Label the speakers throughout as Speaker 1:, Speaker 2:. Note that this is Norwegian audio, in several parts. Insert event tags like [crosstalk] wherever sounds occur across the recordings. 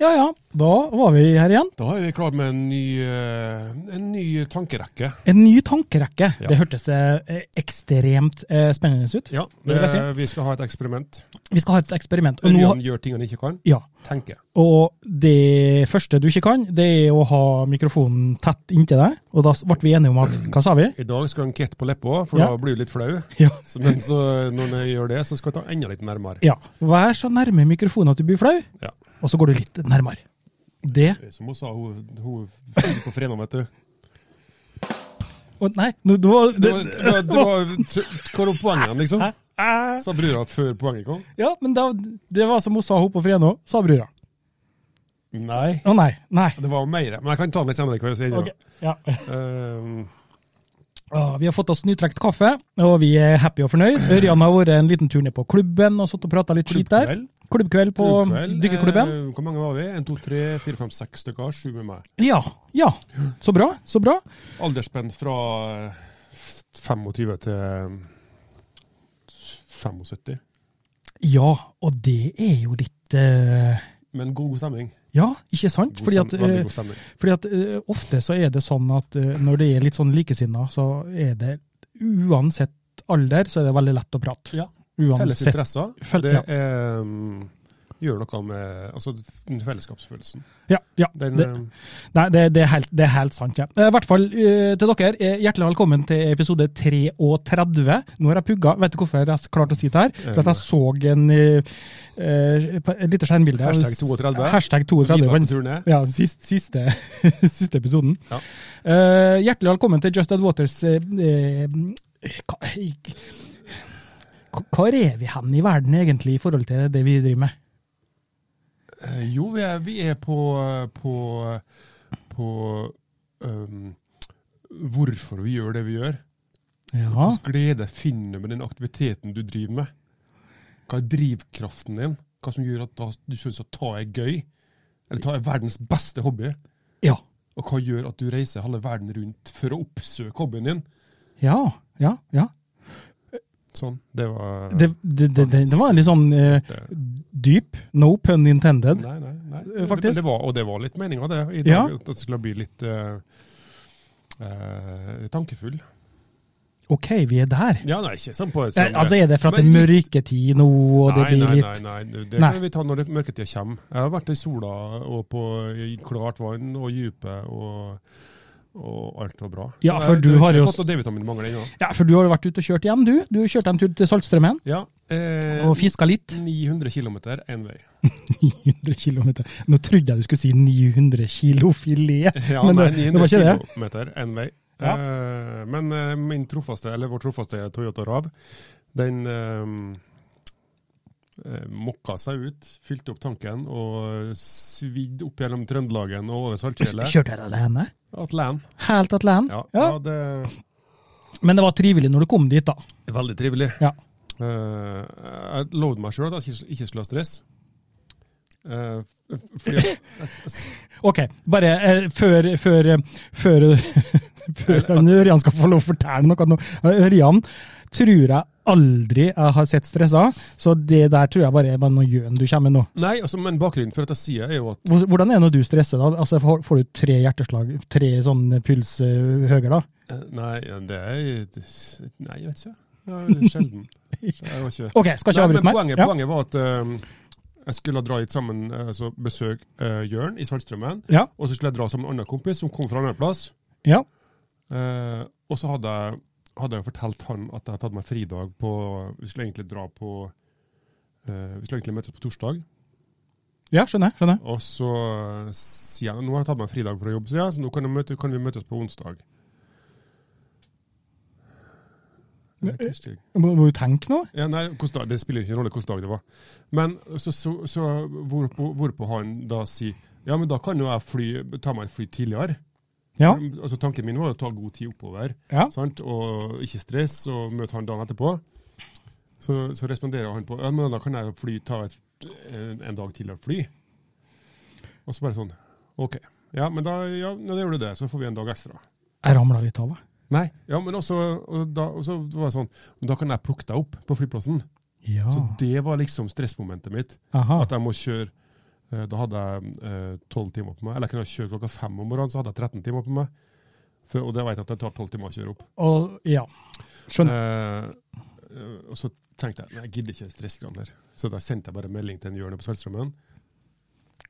Speaker 1: Ja ja, da var vi her igjen.
Speaker 2: Da er vi klar med en ny, eh, en ny tankerekke.
Speaker 1: En ny tankerekke.
Speaker 2: Ja.
Speaker 1: Det hørtes eh, ekstremt eh, spennende ut.
Speaker 2: Ja,
Speaker 1: det vil jeg si.
Speaker 2: Eh, Vi skal ha et eksperiment.
Speaker 1: Vi skal ha et eksperiment. Og, nå,
Speaker 2: Ørjan gjør ting han ikke kan.
Speaker 1: ja,
Speaker 2: Tenke.
Speaker 1: og det første du ikke kan, det er å ha mikrofonen tett inntil deg. Og da s- ble vi enige om at Hva sa vi?
Speaker 2: I dag skal han kette på leppa, for
Speaker 1: Ja.
Speaker 2: da blir du litt flau.
Speaker 1: [laughs] Ja.
Speaker 2: Så- Men så, når han gjør det, så skal han ta enda litt nærmere.
Speaker 1: ja. Vær så nærme mikrofonen at du blir flau,
Speaker 2: Ja.
Speaker 1: og så går du litt nærmere. Det
Speaker 2: Det er Som hun sa, hun, hun fyren på Frena,
Speaker 1: [laughs]
Speaker 2: vet du.
Speaker 1: Å, Nei, nå- det var,
Speaker 2: Det var,
Speaker 1: det-
Speaker 2: det var, det var, hva var poenget, liksom?
Speaker 1: Hæ? Æ?
Speaker 2: Sa brura før poenget kom?
Speaker 1: Ja, men det, det var som hun sa hun på Frenå, sa brura.
Speaker 2: Nei.
Speaker 1: Å nei. Nei.
Speaker 2: Det var mer. Men jeg kan ta den litt senere. Hva jeg sier,
Speaker 1: Ok, Ja.
Speaker 2: Eh,
Speaker 1: Ja, Vi har fått oss nytrekt kaffe, og vi er happy og fornøyd. Ørjan har vært en liten tur ned på klubben og satt og prata litt skit der.
Speaker 2: klubbkveld.
Speaker 1: Klubbkveld på
Speaker 2: Klubbkveld.
Speaker 1: dykkerklubben.
Speaker 2: Eh, Hvor mange var vi? En, to, tre, fire, fem, seks stykker. Sju med meg.
Speaker 1: Ja, ja. Så bra, så bra.
Speaker 2: Aldersspenn fra eh, 25 til eh, 75.
Speaker 1: Ja, og det er jo litt eh,
Speaker 2: Men god stemning.
Speaker 1: Ja, ikke sant?
Speaker 2: God
Speaker 1: Fordi at,
Speaker 2: stemning. Veldig
Speaker 1: eh,
Speaker 2: god stemning.
Speaker 1: fordi at eh, ofte så er det sånn at eh, når det er litt sånn likesinna, så er det uansett alder, så er det veldig lett å prate.
Speaker 2: Felles
Speaker 1: Uansett.
Speaker 2: interesser.
Speaker 1: Fel-
Speaker 2: det
Speaker 1: ja.
Speaker 2: er, mm, gjør noe med altså, den fellesskapsfølelsen.
Speaker 1: Ja, ja.
Speaker 2: Den,
Speaker 1: det-
Speaker 2: eh,
Speaker 1: Nei, det, det, er helt, det er helt sant. Ja. Eh, I hvert fall eh, til dere, eh, hjertelig velkommen til episode 33. Nå har jeg pugga. Vet du hvorfor jeg har klart å si det her? For at jeg så en eh, eh, på et lite skjermbilde. av-
Speaker 2: Hashtag 32.
Speaker 1: Hashtag 32.
Speaker 2: Vidar på
Speaker 1: Hans-
Speaker 2: turné.
Speaker 1: Ja, sist, siste, [laughs] siste episoden.
Speaker 2: Ja.
Speaker 1: Eh, hjertelig velkommen til Just Ad Waters eh, eh, hva, hva er vi hen i verden egentlig i forhold til det vi driver med?
Speaker 2: eh, jo, vi er, vi er på, eh, på, på um, hvorfor vi gjør det vi gjør.
Speaker 1: Ja.
Speaker 2: Hvilken glede finner du med den aktiviteten du driver med? Hva er drivkraften din? Hva som gjør at da du syns at ta er gøy? Eller ta er verdens beste hobby?
Speaker 1: Ja.
Speaker 2: Og hva gjør at du reiser halve verden rundt for å oppsøke hobbyen din?
Speaker 1: Ja. Ja. ja.
Speaker 2: Sånn. Det var
Speaker 1: det, det, det, det, det var litt sånn eh, dyp. No pun intended.
Speaker 2: Nei, nei. nei.
Speaker 1: Eh, faktisk.
Speaker 2: Det, det var, og det var litt meninga, det. I dag,
Speaker 1: Ja.
Speaker 2: At det skulle bli litt eh, eh, tankefull.
Speaker 1: OK, vi er der.
Speaker 2: Ja, nei, ikke sånn på
Speaker 1: Eh, altså, Er det for at det er
Speaker 2: Men litt-
Speaker 1: mørketid nå, og det
Speaker 2: nei,
Speaker 1: blir
Speaker 2: nei,
Speaker 1: litt
Speaker 2: Nei, nei, det
Speaker 1: Nei.
Speaker 2: kan vi ta når det- mørketida kommer. Jeg har vært i sola og på i klart vann og dypet, og, og alt var bra.
Speaker 1: Ja,
Speaker 2: Så
Speaker 1: for
Speaker 2: jeg-
Speaker 1: du
Speaker 2: jeg
Speaker 1: har jo-
Speaker 2: ikke fått noe D-vitaminmangel ennå.
Speaker 1: Ja, for du har jo vært ute og kjørt hjem, du. Du kjørte en tur til Saltstraumen
Speaker 2: Ja, eh,
Speaker 1: og fiska litt. [laughs]
Speaker 2: 900 km én vei.
Speaker 1: 900 km. Nå trodde jeg du skulle si 900 kilo filet,
Speaker 2: [laughs] Ja,
Speaker 1: men det, det
Speaker 2: nei,
Speaker 1: var ikke det.
Speaker 2: 900 km én vei. Eh, men eh, min trofaste, eller vår trofaste Toyota Rav, den eh, eh, mokka seg ut, fylte opp tanken og svidde opp gjennom Trøndelagen og over Saltfjellet.
Speaker 1: Kjørte dere alene?
Speaker 2: Atlan.
Speaker 1: Helt alene?
Speaker 2: Ja,
Speaker 1: Ja.
Speaker 2: ja. det
Speaker 1: Men det var trivelig når du kom dit, da.
Speaker 2: er veldig trivelig.
Speaker 1: Ja.
Speaker 2: Eh, jeg lovde meg sjøl at jeg ikke, ikke skulle ha stress. Eh, f- fordi at,
Speaker 1: [laughs] OK, bare eh, før Før, eh, før, [laughs] før han, Ørjan skal få lov å fortelle noe. nå. Ørjan tror jeg aldri jeg har sett stressa, så det der tror jeg bare er bare noe gjøn du kommer med nå.
Speaker 2: nei, altså, men bakgrunnen for at jeg sier, er jo at
Speaker 1: Hvor- Hvordan er det når du stresser? da? Altså, Får får du tre hjerteslag, tre sånn puls eh, høyere da?
Speaker 2: eh, Nei, det er Nei, jeg vet ikke. Det er veldig sjelden. Så Jeg var ikke
Speaker 1: OK, skal ikke
Speaker 2: Nei, men
Speaker 1: avbryte meg.
Speaker 2: poenget,
Speaker 1: Ja.
Speaker 2: poenget var at eh, jeg skulle dra hit sammen eh, altså besøke eh, Jørn i Saltstraumen.
Speaker 1: Ja,
Speaker 2: Og så skulle jeg dra sammen med en annen kompis som kom fra en annen plass.
Speaker 1: ja,
Speaker 2: Eh, og så hadde jeg, hadde jeg fortalt han at jeg hadde tatt meg fridag på Vi skulle egentlig dra på eh, Vi skulle egentlig møtes på torsdag.
Speaker 1: ja, skjønner jeg. skjønner jeg.
Speaker 2: Og så sier han nå har jeg tatt meg fridag fra jobb, sier jeg, så nå kan, jeg møte, kan vi møtes på onsdag. Det er Kristi-
Speaker 1: Må, må du tenke nå?
Speaker 2: Ja, nei, hvordan dag, Det spiller ikke noen rolle hvilken dag det var. Men så, så, så hvorpå, hvorpå han da sier ja, men da kan jo jeg fly, ta meg et fly tidligere.
Speaker 1: Ja.
Speaker 2: Altså, tanken min var å ta god tid oppover,
Speaker 1: Ja.
Speaker 2: sant? og ikke stress, og møte han dagen etterpå. Så, så responderer han på ja, men da kan jeg jo fly, ta et, en, en dag til og fly. Og så bare sånn OK. Ja, men da, ja, nei, da gjør du det, så får vi en dag ekstra.
Speaker 1: Jeg ramla litt av, jeg.
Speaker 2: Nei, ja, men også, og da, og så var det sånn Da kan jeg plukke deg opp på flyplassen.
Speaker 1: Ja.
Speaker 2: Så det var liksom stressmomentet mitt.
Speaker 1: Aha.
Speaker 2: At jeg må kjøre eh, Da hadde jeg eh, tolv timer på meg. Eller jeg kunne ha kjørt klokka fem om morgenen, så hadde jeg 13 timer på meg. For, og det vet jeg at det tar tolv timer å kjøre opp.
Speaker 1: Og, ja. Skjønner.
Speaker 2: Eh, eh, og så tenkte jeg nei, jeg gidder ikke stressgreiene der. Så da sendte jeg bare melding til en Jørn på Saltstraumen.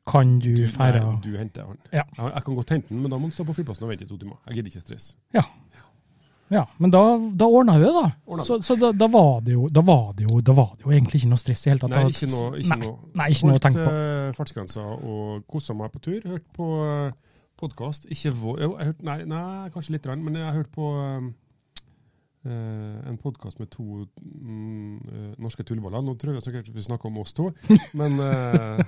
Speaker 1: Kan du feire
Speaker 2: Nei, Eh, Du henter han.
Speaker 1: Ja.
Speaker 2: Jeg, jeg kan godt hente han, men da må han stå på flyplassen og vente i to timer. Jeg gidder ikke stress.
Speaker 1: Ja. ja. Men da, da ordna hun det, da.
Speaker 2: Ordna
Speaker 1: Så, så da, da, var det jo, da, var det jo, da var det jo egentlig ikke noe stress i hele tatt.
Speaker 2: Nei,
Speaker 1: Da-
Speaker 2: ikke noe, ikke
Speaker 1: nei,
Speaker 2: noe.
Speaker 1: Nei, ikke noe å tenke på.
Speaker 2: Holdt, eh, fartsgrensa og kosa meg på tur. Hørte på uh, podkast. Ikke vår Jo, jeg hørte Nei, nei kanskje litt, grann, men jeg hørte på eh, eh, en podkast med to mm, eh, norske tullballer. Nå tror jeg sikkert vi snakker om oss to, men eh,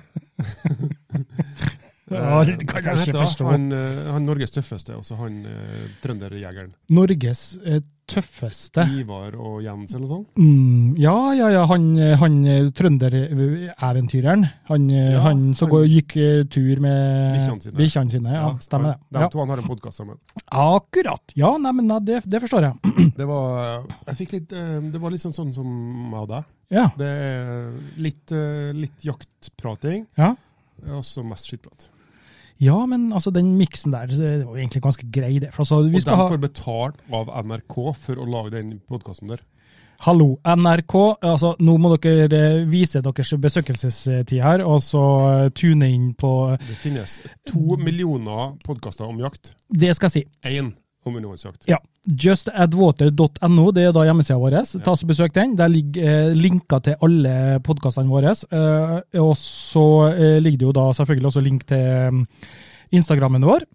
Speaker 1: Ja,
Speaker 2: eh,
Speaker 1: det kan jeg
Speaker 2: hva
Speaker 1: ikke
Speaker 2: heter han?
Speaker 1: forstå.
Speaker 2: Han, eh, han Norges tøffeste, og så han uh, trønderjegeren.
Speaker 1: Norges eh, tøffeste
Speaker 2: Ivar og Jens, eller noe sånt.
Speaker 1: mm, Ja, ja, ja, han, eh, han eh, trøndereventyreren. Han, eh,
Speaker 2: Ja,
Speaker 1: han som
Speaker 2: han-
Speaker 1: går, gikk eh, tur med
Speaker 2: Bikkjene sine.
Speaker 1: bikkjene sine. Ja, stemmer
Speaker 2: han- De
Speaker 1: det. Ja.
Speaker 2: to han har en
Speaker 1: [clears throat]
Speaker 2: podkast sammen.
Speaker 1: Akkurat. Ja, nei, men da, det, det forstår jeg. [clears throat]
Speaker 2: Det var, jeg fikk litt, eh, det var litt sånn, sånn som meg og deg.
Speaker 1: Ja.
Speaker 2: Det er litt, eh, litt jaktprating,
Speaker 1: ja.
Speaker 2: og så mest skittprat.
Speaker 1: Ja, men altså, den miksen der så er det jo egentlig ganske grei, det. For altså,
Speaker 2: Og
Speaker 1: vi
Speaker 2: de
Speaker 1: skal ha
Speaker 2: får betalt av NRK for å lage den podkasten der.
Speaker 1: Hallo, NRK. Altså, nå må dere eh, vise deres besøkelsestid her, og så eh, tune inn på eh,
Speaker 2: Det finnes to millioner podkaster om jakt.
Speaker 1: Det skal jeg si.
Speaker 2: Én om undervannsjakt.
Speaker 1: Ja. Justadwater.no, det er da hjemmesida vår. Ta oss og Besøk den. Der ligger eh, linker til alle podkastene våre. Eh, og så eh, ligger det jo da selvfølgelig også link til mm, Instagrammen vår.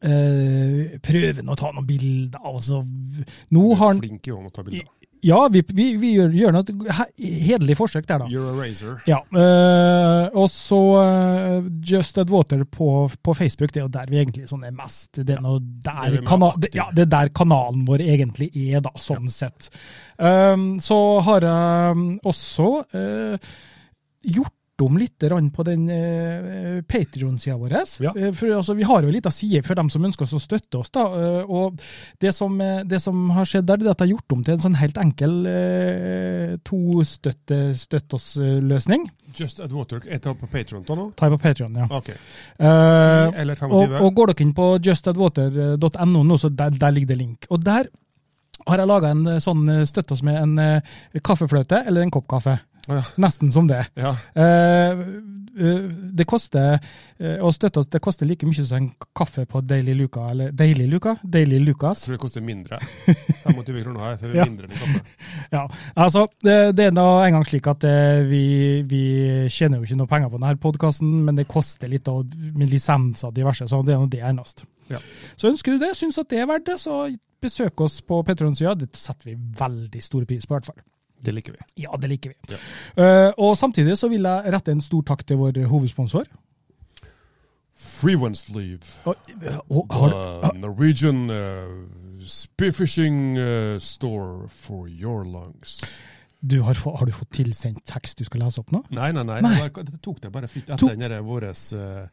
Speaker 1: Eh, prøver nå å ta noen bilder, altså.
Speaker 2: Du
Speaker 1: Nå
Speaker 2: er
Speaker 1: har han
Speaker 2: flink i å ta bilder.
Speaker 1: Ja, vi, vi, vi gjør, gjør nå et he- hederlig forsøk der, da.
Speaker 2: You're a razor.
Speaker 1: Ja, øh, og så øh, Just Add Water på, på Facebook, det er jo der vi egentlig sånn er mest. Det er, nå
Speaker 2: er
Speaker 1: der,
Speaker 2: vi mer
Speaker 1: kana
Speaker 2: aktive.
Speaker 1: det, ja, det er der kanalen vår egentlig er, da, sånn sett. Ehm, så har jeg mm, også øh, gjort om litt grann på den uh, Patrion-sida vår.
Speaker 2: Ja.
Speaker 1: Eh, For, altså, vi har jo en liten side for dem som ønsker oss å støtte oss. Da. eh, Og det som, eh, det som har skjedd der, det er at jeg har gjort om til en sånn helt enkel eh, to-støtte-støtt-oss-løsning.
Speaker 2: Just at Waterk. Er det på Patron da nå?
Speaker 1: Ta på Patreon, ja.
Speaker 2: OK.
Speaker 1: Eh,
Speaker 2: Ti eller
Speaker 1: og,
Speaker 2: 25?
Speaker 1: og går dere inn på justadwater.no nå, så der, der ligger det link. Og der har jeg laga en eh, sånn eh, støtte oss med en eh, kaffefløte eller en kopp kaffe.
Speaker 2: Å ja.
Speaker 1: Nesten som det.
Speaker 2: ja.
Speaker 1: Eh, eh, det koster eh, å støtte oss, det koster like mye som en kaffe på Daily Luca, eller Daily Luca? Daily Lucas.
Speaker 2: Jeg tror det koster mindre.
Speaker 1: [laughs]
Speaker 2: 25 kroner her for
Speaker 1: Ja.
Speaker 2: mindre liksom. enn kaffe.
Speaker 1: Ja, altså, det, det er nå engang slik at eh, vi, vi tjener jo ikke noe penger på denne podkasten, men det koster litt og med lisenser og diverse, så det er nå det eneste.
Speaker 2: Ja.
Speaker 1: Så ønsker du det, syns at det er verdt det, så besøk oss på Petron-sida. Det setter vi veldig stor pris på, i hvert fall.
Speaker 2: Det liker vi.
Speaker 1: Ja, det liker vi.
Speaker 2: Ja.
Speaker 1: Eh, og samtidig så vil jeg rette en stor takk til vår hovedsponsor.
Speaker 2: Free one's leave.
Speaker 1: Og, eh, og, har, ah.
Speaker 2: The Norwegian uh, spearfishing uh, store for your lungs.
Speaker 1: du har, få- har du fått tilsendt tekst du skal lese opp nå?
Speaker 2: Nei, nei, nei.
Speaker 1: Nei.
Speaker 2: det var- Dette tok det bare fritt
Speaker 1: To-
Speaker 2: etter den der våres uh,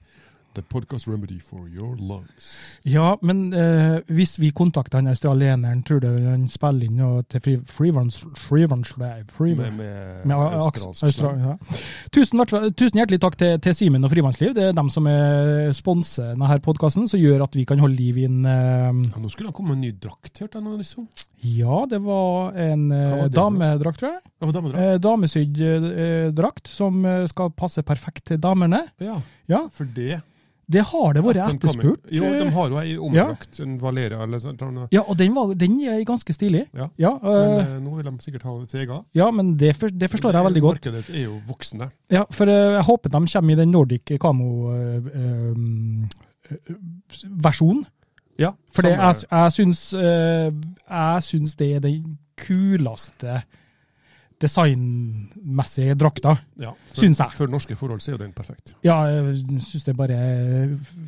Speaker 2: The podcast remedy for your lungs.
Speaker 1: Ja, men eh, hvis vi kontakter han australieneren, tror du han spiller inn noe til Fri- Freelands- Freelance Live?
Speaker 2: Med,
Speaker 1: Freelance-
Speaker 2: med,
Speaker 1: Med
Speaker 2: australsk slang.
Speaker 1: Australia. Ja. Tusen, hvert fall- tusen hjertelig takk til, til Simen og Frivannsliv. Det er dem som er sponser denne podkasten, som gjør at vi kan holde liv i en eh,
Speaker 2: Ja, nå skulle det komme en ny drakt, hørte jeg nå liksom.
Speaker 1: Ja, det var en eh,
Speaker 2: Hva var det for noe?
Speaker 1: damedrakt, tror jeg.
Speaker 2: Det var damedrakt.
Speaker 1: Eh, damesydd eh, drakt som eh, skal passe perfekt til damene.
Speaker 2: Ja,
Speaker 1: Ja,
Speaker 2: for det.
Speaker 1: det har det vært
Speaker 2: Den kommer-
Speaker 1: etterspurt.
Speaker 2: Jo, de
Speaker 1: eh,
Speaker 2: har jo ei omdrakt, en Valeria eller sånt. Men
Speaker 1: Ja, og den, var, den er ganske stilig.
Speaker 2: Ja.
Speaker 1: eh,
Speaker 2: eh, nå vil de sikkert ha sin egen.
Speaker 1: Ja, men det, for, det forstår jeg veldig godt.
Speaker 2: Markedet er jo voksende.
Speaker 1: Ja, for eh, jeg håper de kommer i den Nordic eh, Kamo-versjonen.
Speaker 2: Ja,
Speaker 1: for det,
Speaker 2: samme-
Speaker 1: jeg, jeg, syns, eh, jeg syns det er den kuleste designmessige drakter.
Speaker 2: Ja, for,
Speaker 1: Syns jeg.
Speaker 2: For norske forhold så er jo den perfekt.
Speaker 1: Ja, jeg syns det bare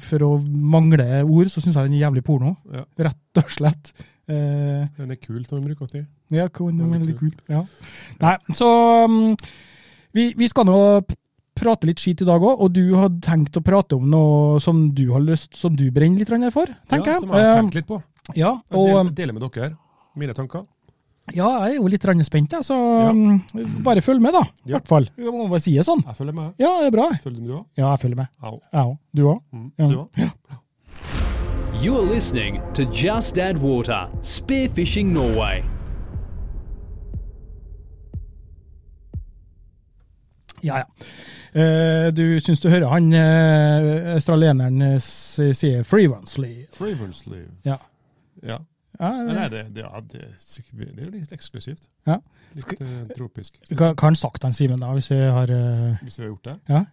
Speaker 1: For å mangle ord, så syns jeg den er jævlig porno.
Speaker 2: Ja.
Speaker 1: Rett og slett. Eh,
Speaker 2: Den er kul til å bruke til.
Speaker 1: ja, cool, det er
Speaker 2: Veldig
Speaker 1: veldig kult. Ja. Nei, så um, vi, vi skal nå p- prate litt skit i dag òg, og du hadde tenkt å prate om noe som du har lyst, som du brenner litt grann for, tenker
Speaker 2: ja, Som jeg har
Speaker 1: jeg.
Speaker 2: tenkt litt på.
Speaker 1: Eh, Ja,
Speaker 2: Jeg
Speaker 1: og
Speaker 2: deler,
Speaker 1: um,
Speaker 2: deler med dere mine tanker.
Speaker 1: ja, jeg er jo litt grann spent, jeg, så
Speaker 2: Ja.
Speaker 1: um, bare følg med, da. I
Speaker 2: Ja.
Speaker 1: hvert fall. Vi må bare si det sånn.
Speaker 2: Jeg følger med.
Speaker 1: Ja, det er bra.
Speaker 2: Følger du òg?
Speaker 1: Ja, jeg følger med.
Speaker 2: Au.
Speaker 1: Jeg òg. Du òg?
Speaker 2: Mm.
Speaker 1: Ja.
Speaker 2: Du òg?
Speaker 3: You're listening to Just Add Water Spearfishing Norway.
Speaker 1: Ja, ja. Eh, du syns du hører han eh, australieneren eh, s- sier 'free runs leave'?
Speaker 2: Fravensleeve.
Speaker 1: Ja.
Speaker 2: Ja. Men
Speaker 1: Ja,
Speaker 2: Nei, det, det, ja, det, er sikkert- det er jo litt eksklusivt.
Speaker 1: Ja.
Speaker 2: Litt eh, tropisk.
Speaker 1: hva hva har han sagt, han Simen, da, hvis vi har eh,
Speaker 2: Hvis vi har gjort det?
Speaker 1: Ja.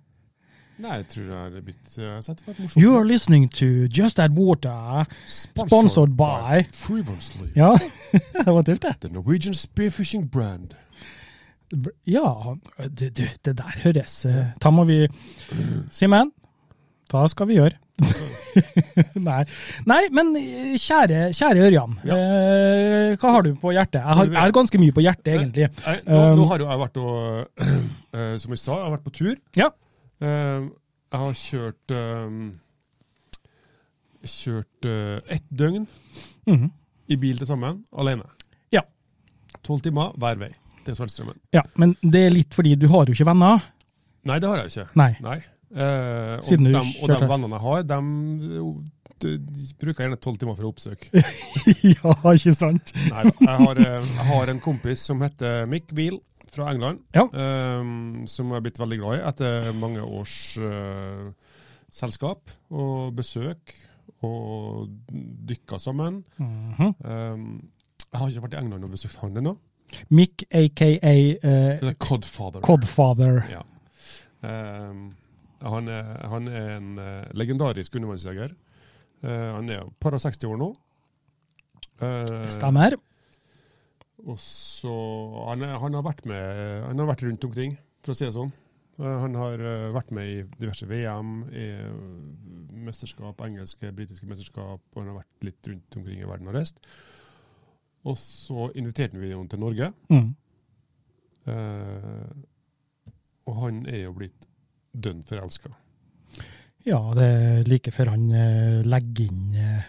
Speaker 2: Nei, jeg tror det er blitt eh, sett på et morsomt.
Speaker 1: You're listening to Just Add Water.
Speaker 2: Sponsored,
Speaker 1: sponsored by-
Speaker 2: Frivolously,
Speaker 1: Ja, [laughs] det var tøft, det.
Speaker 2: the Norwegian spearfishing brand.
Speaker 1: Br- Ja, du, du, det der høres eh, Da må vi Simen, hva skal vi [laughs] gjøre? Nei. Nei, men eh, kjære, kjære Ørjan.
Speaker 2: Ja.
Speaker 1: eh, hva har du på hjertet? Jeg har, jeg har ganske mye på hjertet, egentlig.
Speaker 2: Nei, nå,
Speaker 1: Um,
Speaker 2: nå har jo jeg vært og [clears throat] eh, Som jeg sa, jeg har vært på tur.
Speaker 1: Ja.
Speaker 2: Eh, jeg har kjørt eh, Kjørt eh, ett døgn
Speaker 1: Mhm.
Speaker 2: i bil til sammen, alene.
Speaker 1: Ja.
Speaker 2: Tolv timer hver vei til Svelgstrømmen.
Speaker 1: Ja, men det er litt fordi du har jo ikke venner.
Speaker 2: Nei, det har jeg jo ikke.
Speaker 1: Nei.
Speaker 2: Nei. Eh, og,
Speaker 1: Siden du
Speaker 2: dem, og de
Speaker 1: kjørte.
Speaker 2: vennene jeg har, dem, eh, de, de bruker gjerne tolv timer for å oppsøke.
Speaker 1: [laughs] ja, ikke sant?
Speaker 2: Nei, da. jeg, har, eh, jeg har en kompis som heter Mick Beal fra England,
Speaker 1: Ja.
Speaker 2: eh, som jeg har blitt veldig glad i etter mange års eh, selskap og besøk og dykka sammen.
Speaker 1: Mhm.
Speaker 2: Eh, jeg har ikke vært i England og besøkt han ennå.
Speaker 1: Mick, aka eh,
Speaker 2: Det er Codfather.
Speaker 1: Codfather.
Speaker 2: Ja. Eh, han, er, han er en eh, legendarisk undervannsjeger. Eh, han er jo par og 60 år nå. Eh,
Speaker 1: Stemmer.
Speaker 2: Og så han, er- han har vært med Han har vært rundt omkring, for å si det sånn. Eh, Han har eh, vært med i diverse VM, i eh, mesterskap, engelske, britiske mesterskap, og han har vært litt rundt omkring i verden og reist. Og så inviterte vi ham til Norge,
Speaker 1: Mm.
Speaker 2: eh, og han er jo blitt dønn forelska.
Speaker 1: Ja, det er like før han eh, legger inn, eh,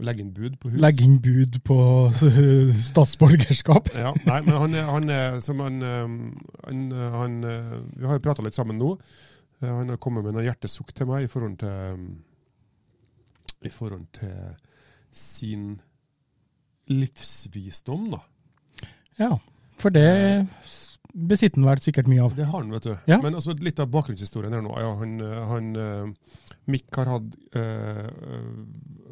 Speaker 2: Legger inn bud på hus.
Speaker 1: legger inn bud på [laughs] eh, statsborgerskap.
Speaker 2: Ja, nei, men han, er- han er som han, ehm, han, eh, han eh, Vi har jo prata litt sammen nå. Eh, Han har kommet med noen hjertesukk til meg i forhold til ehm, I forhold til sin livsvisdom, da.
Speaker 1: Ja, for det s- besitter han vel sikkert mye av.
Speaker 2: Det har han, vet du.
Speaker 1: Ja.
Speaker 2: Men altså, litt av bakgrunnshistorien her nå. Ja, han, eh, han, eh, Mick har hatt, eh,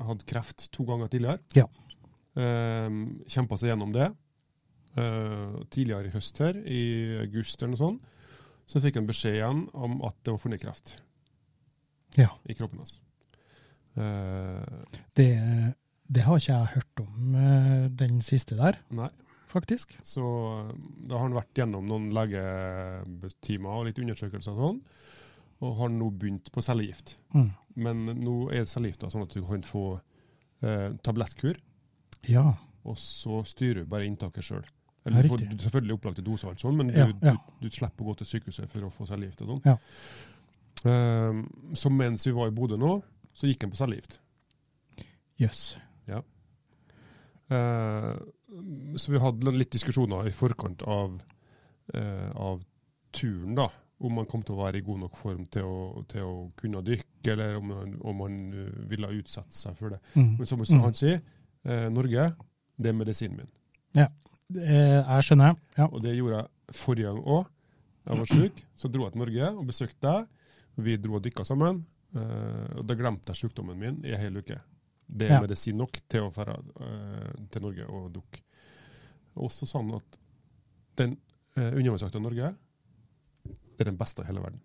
Speaker 2: eh, hatt kreft to ganger tidligere.
Speaker 1: Ja.
Speaker 2: Eh, Kjempa seg gjennom det. Eh, tidligere i høst her, i august eller noe sånt, så fikk han beskjed igjen om at det var funnet kreft
Speaker 1: Ja,
Speaker 2: i kroppen hans. Eh,
Speaker 1: det, det har ikke jeg hørt om eh, den siste der,
Speaker 2: nei.
Speaker 1: faktisk.
Speaker 2: Så eh, da har han vært gjennom noen legetimer og litt undersøkelser og sånn, og har nå begynt på cellegift.
Speaker 1: Mm.
Speaker 2: Men nå er det cellegift, da, sånn at du kan få eh, tablettkur,
Speaker 1: Ja,
Speaker 2: og så styrer du bare inntaket sjøl.
Speaker 1: Ja,
Speaker 2: Eller du får
Speaker 1: riktig.
Speaker 2: selvfølgelig opplagte doser, og alt sånt, men
Speaker 1: Ja,
Speaker 2: du,
Speaker 1: ja.
Speaker 2: Du, du slipper å gå til sykehuset for å få cellegift. og sånn.
Speaker 1: Ja.
Speaker 2: Eh, så mens vi var i Bodø nå, så gikk han på cellegift.
Speaker 1: jøss.
Speaker 2: Eh, så vi hadde litt diskusjoner i forkant av, eh, av turen, da. Om han kom til å være i god nok form til å, til å kunne dykke, eller om han, om han eh, ville utsette seg for det.
Speaker 1: Mm.
Speaker 2: Men som
Speaker 1: Mm.
Speaker 2: han sier, eh, Norge, det er medisinen min.
Speaker 1: Eh, Jeg skjønner. Ja.
Speaker 2: Og det gjorde jeg forrige gang òg. Jeg var syk, så dro jeg til Norge og besøkte deg. Vi dro og dykka sammen. eh, og da glemte jeg sykdommen min i en hel uke. Det er
Speaker 1: Ja.
Speaker 2: medisin nok til å dra til Norge og dukke. Og så sa han at den uh, undervannsjakta i Norge er den beste i hele verden.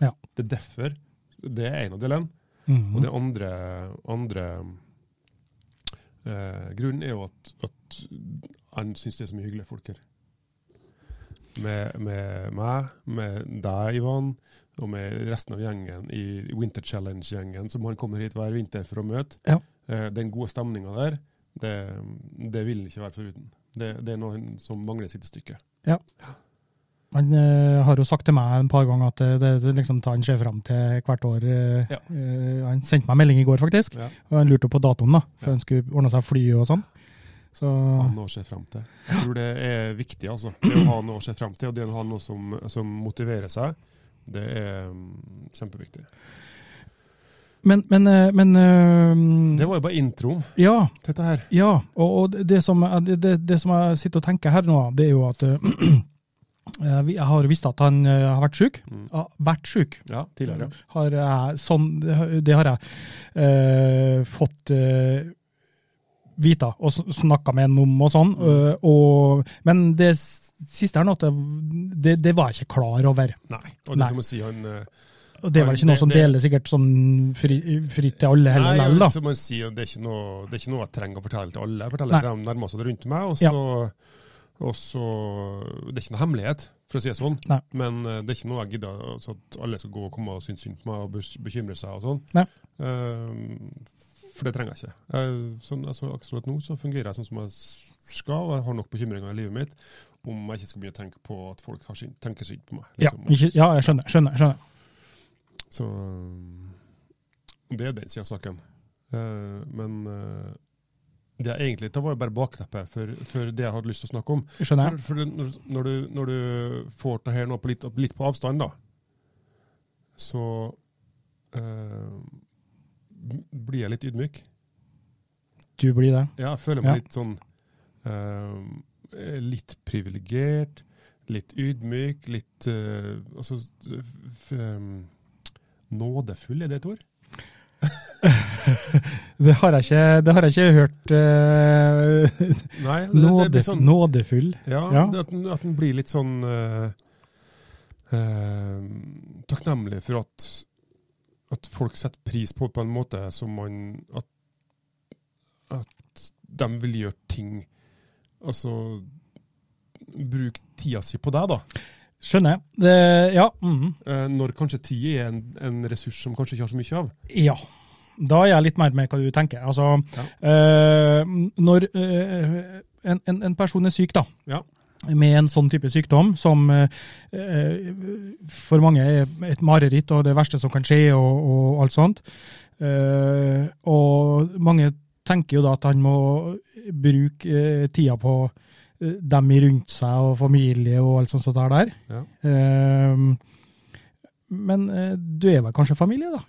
Speaker 1: Ja.
Speaker 2: Det er derfor. Det er en av delene.
Speaker 1: Mhm.
Speaker 2: Og det andre, andre eh, grunnen er jo at, at han syns det er så mye hyggelige folk her. med, med meg, med deg, Ivan, og med resten av gjengen i Winter Challenge-gjengen, som han kommer hit hver vinter for å møte.
Speaker 1: Ja.
Speaker 2: Eh, Den gode stemninga der, det, det vil han ikke være foruten. Det, det er noe han som mangler sitt stykke.
Speaker 1: Han eh, har jo sagt til meg en par ganger at eh, det, det liksom tar han ser fram til hvert år. eh,
Speaker 2: Ja.
Speaker 1: eh, han sendte meg en melding i går, faktisk.
Speaker 2: Ja.
Speaker 1: Og han lurte på datoen, da, for
Speaker 2: Ja.
Speaker 1: han skulle ordne seg fly og sånn. Så
Speaker 2: Ha noe å se frem til. Jeg tror det er viktig, altså. Det å ha noe å se frem til, og det å ha noe som, som motiverer seg, det er mm, kjempeviktig.
Speaker 1: Men, men, eh, men eh,
Speaker 2: Det var jo bare introen
Speaker 1: Ja.
Speaker 2: til dette her.
Speaker 1: Ja, og, og det, som, jeg- det- det, det som jeg sitter og tenker her nå, det er jo at [clears throat] eh, vi- jeg har visst at han eh, har vært syk.
Speaker 2: Mm.
Speaker 1: Har vært syk.
Speaker 2: Ja, tidligere.
Speaker 1: Har jeg, sånn, det har jeg eh, fått eh, vite og s- snakka med han om og sånn.
Speaker 2: Mm.
Speaker 1: eh, og, men det s- siste her nå, at det, det, det var jeg ikke klar over.
Speaker 2: Nei. Og det
Speaker 1: Nei.
Speaker 2: er som å si han eh,
Speaker 1: Og det er vel ikke noe som
Speaker 2: Det- det-
Speaker 1: deler sikkert sånn fri- fritt til alle heller,
Speaker 2: Nei,
Speaker 1: vel, da.
Speaker 2: så må jeg si at det er, ikke noe, det er ikke noe jeg trenger å fortelle til alle. Jeg
Speaker 1: Nei.
Speaker 2: forteller til de nærmeste rundt meg, og
Speaker 1: Ja.
Speaker 2: så, og så Det er ikke noe hemmelighet, for å si det sånn.
Speaker 1: Nei.
Speaker 2: Men eh, det er ikke noe jeg gidder altså at alle skal gå og komme og synes synd på meg og bes- bekymre seg og sånn.
Speaker 1: Nei.
Speaker 2: Eh, for det trenger jeg ikke. Jeg- sånn, altså, akkurat nå så fungerer jeg sånn som jeg s- skal, og jeg har nok bekymringer i livet mitt om jeg ikke skal begynne å tenke på at folk har syn, tenker synd på meg.
Speaker 1: Ja,
Speaker 2: liksom.
Speaker 1: ikke, ja, jeg skjønner. skjønner, skjønner.
Speaker 2: Så øh, det er den sida av saken. Eh, men øh, det er egentlig, det var jo bare bakteppet for, for det jeg hadde lyst til å snakke om.
Speaker 1: skjønner. jeg.
Speaker 2: For, for når, når, du, når du får det her nå på litt, litt på avstand, da, så øh, blir jeg litt ydmyk.
Speaker 1: Du blir det.
Speaker 2: Ja, jeg føler
Speaker 1: Ja.
Speaker 2: meg litt sånn eh, Litt privilegert, litt ydmyk, litt eh, altså, f, em, Nådefull, er det et ord?
Speaker 1: Det har jeg ikke, det har jeg ikke hørt eh, [laughs]
Speaker 2: Nei, det, det
Speaker 1: nåde,
Speaker 2: blir sånn
Speaker 1: Nådefull.
Speaker 2: Ja,
Speaker 1: Ja.
Speaker 2: det At, den, at den blir litt sånn eh, eh, Takknemlig for at, at folk setter pris på på en måte som man At, at de vil gjøre ting Altså Bruk tida si på deg, da.
Speaker 1: Skjønner. jeg. Det, ja. mhm.
Speaker 2: Eh, når kanskje tid er en, en ressurs som kanskje ikke har så mye av.
Speaker 1: ja. Da er jeg litt mer med hva du tenker. Altså,
Speaker 2: Ja.
Speaker 1: eh, når eh, en, en, en person er syk, da,
Speaker 2: Ja.
Speaker 1: med en sånn type sykdom, som eh, eh, for mange er et mareritt og det verste som kan skje, og, og alt sånt, eh, og mange tenker jo da at han må bruke eh, tida på eh, dem i rundt seg og familie og alt sånt som det er der.
Speaker 2: Ja.
Speaker 1: Ehm, men eh, du er vel kanskje familie, da?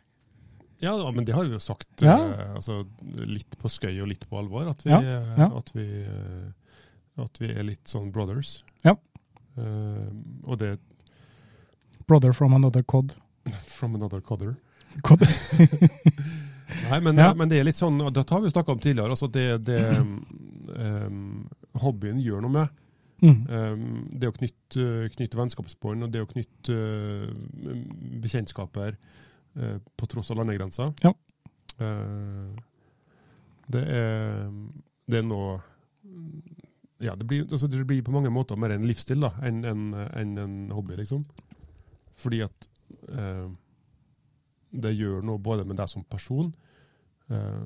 Speaker 2: Ja, da, men det har vi jo sagt,
Speaker 1: Ja.
Speaker 2: eh, altså, litt på skøy og litt på alvor, at vi,
Speaker 1: Ja,
Speaker 2: eh,
Speaker 1: ja.
Speaker 2: At vi, eh, at vi er litt sånn brothers.
Speaker 1: Ja.
Speaker 2: Eh, og det [laughs]
Speaker 1: Brother from another cod.
Speaker 2: from another cother.
Speaker 1: Cod. [laughs]
Speaker 2: Nei, men,
Speaker 1: Ja.
Speaker 2: men det er litt sånn, og dette har vi snakka om tidligere, altså det,
Speaker 1: [clears throat]
Speaker 2: det em, hobbyen gjør noe med.
Speaker 1: Mm.
Speaker 2: Um, det å knytte, knytte vennskapsbånd og det å knytte uh, m- bekjentskaper uh, på tross av landegrenser
Speaker 1: Ja.
Speaker 2: Uh, det, er, det er noe ja, det, blir, altså det blir på mange måter mer en livsstil da, enn en, enn en hobby, liksom. Fordi at uh, det gjør noe både med deg som person, uh,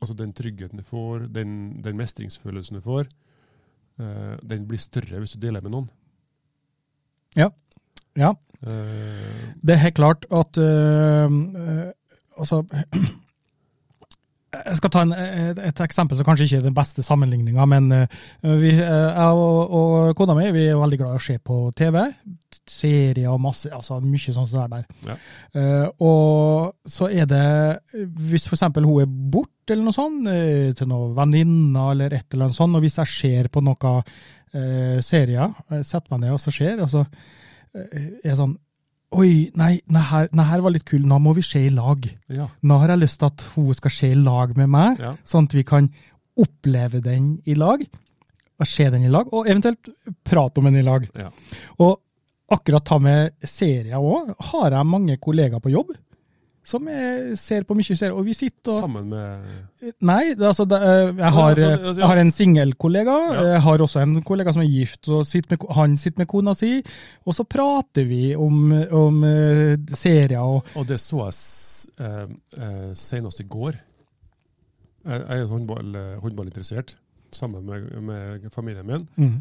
Speaker 2: altså den tryggheten du får, den, den mestringsfølelsen du får, Eh, den blir større hvis du deler med noen.
Speaker 1: Ja. Ja.
Speaker 2: Eh,
Speaker 1: Det er helt klart at ehm, eh, Altså [clears throat] Jeg skal ta en, et, et eksempel som kanskje ikke er den beste sammenligninga, men eh, vi, eh, jeg og, og kona mi vi er veldig glad i å se på TV. Serier og masse, altså mye sånn som det er der. Eh, og så er det Hvis f.eks. hun er borte eller noe sånt, eh, til noen venninner eller et eller annet sånt, og hvis jeg ser på noen eh, serier, jeg setter meg ned og så ser, og så eh, er jeg sånn Oi, nei, den her, den her var litt kul. Nå må vi se i lag.
Speaker 2: ja.
Speaker 1: Nå har jeg lyst til at hun skal se i lag med meg,
Speaker 2: Ja.
Speaker 1: sånn at vi kan oppleve den i lag, og se den i lag, og eventuelt prate om den i lag.
Speaker 2: Ja.
Speaker 1: Og akkurat ta med serier òg, har jeg mange kollegaer på jobb som jeg ser på mye serier. Og vi sitter og
Speaker 2: Sammen med
Speaker 1: Nei, det, er altså, det, er- jeg, har,
Speaker 2: Ja, altså, altså, ja.
Speaker 1: jeg har en singelkollega.
Speaker 2: Ja.
Speaker 1: Jeg har også en kollega som er gift, og sitter med, ko- han sitter med kona si. Og så prater vi om, om eh, serier og
Speaker 2: Og det så jeg s- eh, eh, senest i går. Jeg jeg er jo håndball, eh, håndballinteressert, sammen med, med familien min.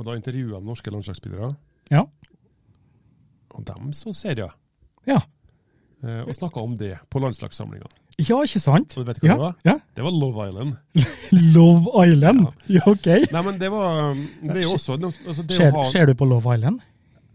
Speaker 2: Og da intervjuet jeg norske landslagsspillere,
Speaker 1: Ja.
Speaker 2: og dem så serier.
Speaker 1: Ja.
Speaker 2: eh, Og snakka om det på landslagssamlinga.
Speaker 1: Ja, ikke sant?
Speaker 2: Og vet du hva
Speaker 1: Ja,
Speaker 2: det var?
Speaker 1: ja.
Speaker 2: Det var Love Island.
Speaker 1: Love Island! Ja, ok.
Speaker 2: Nei, men det var um, Det er jo også no- altså det
Speaker 1: Ser,
Speaker 2: å ha,
Speaker 1: ser du på Love Island?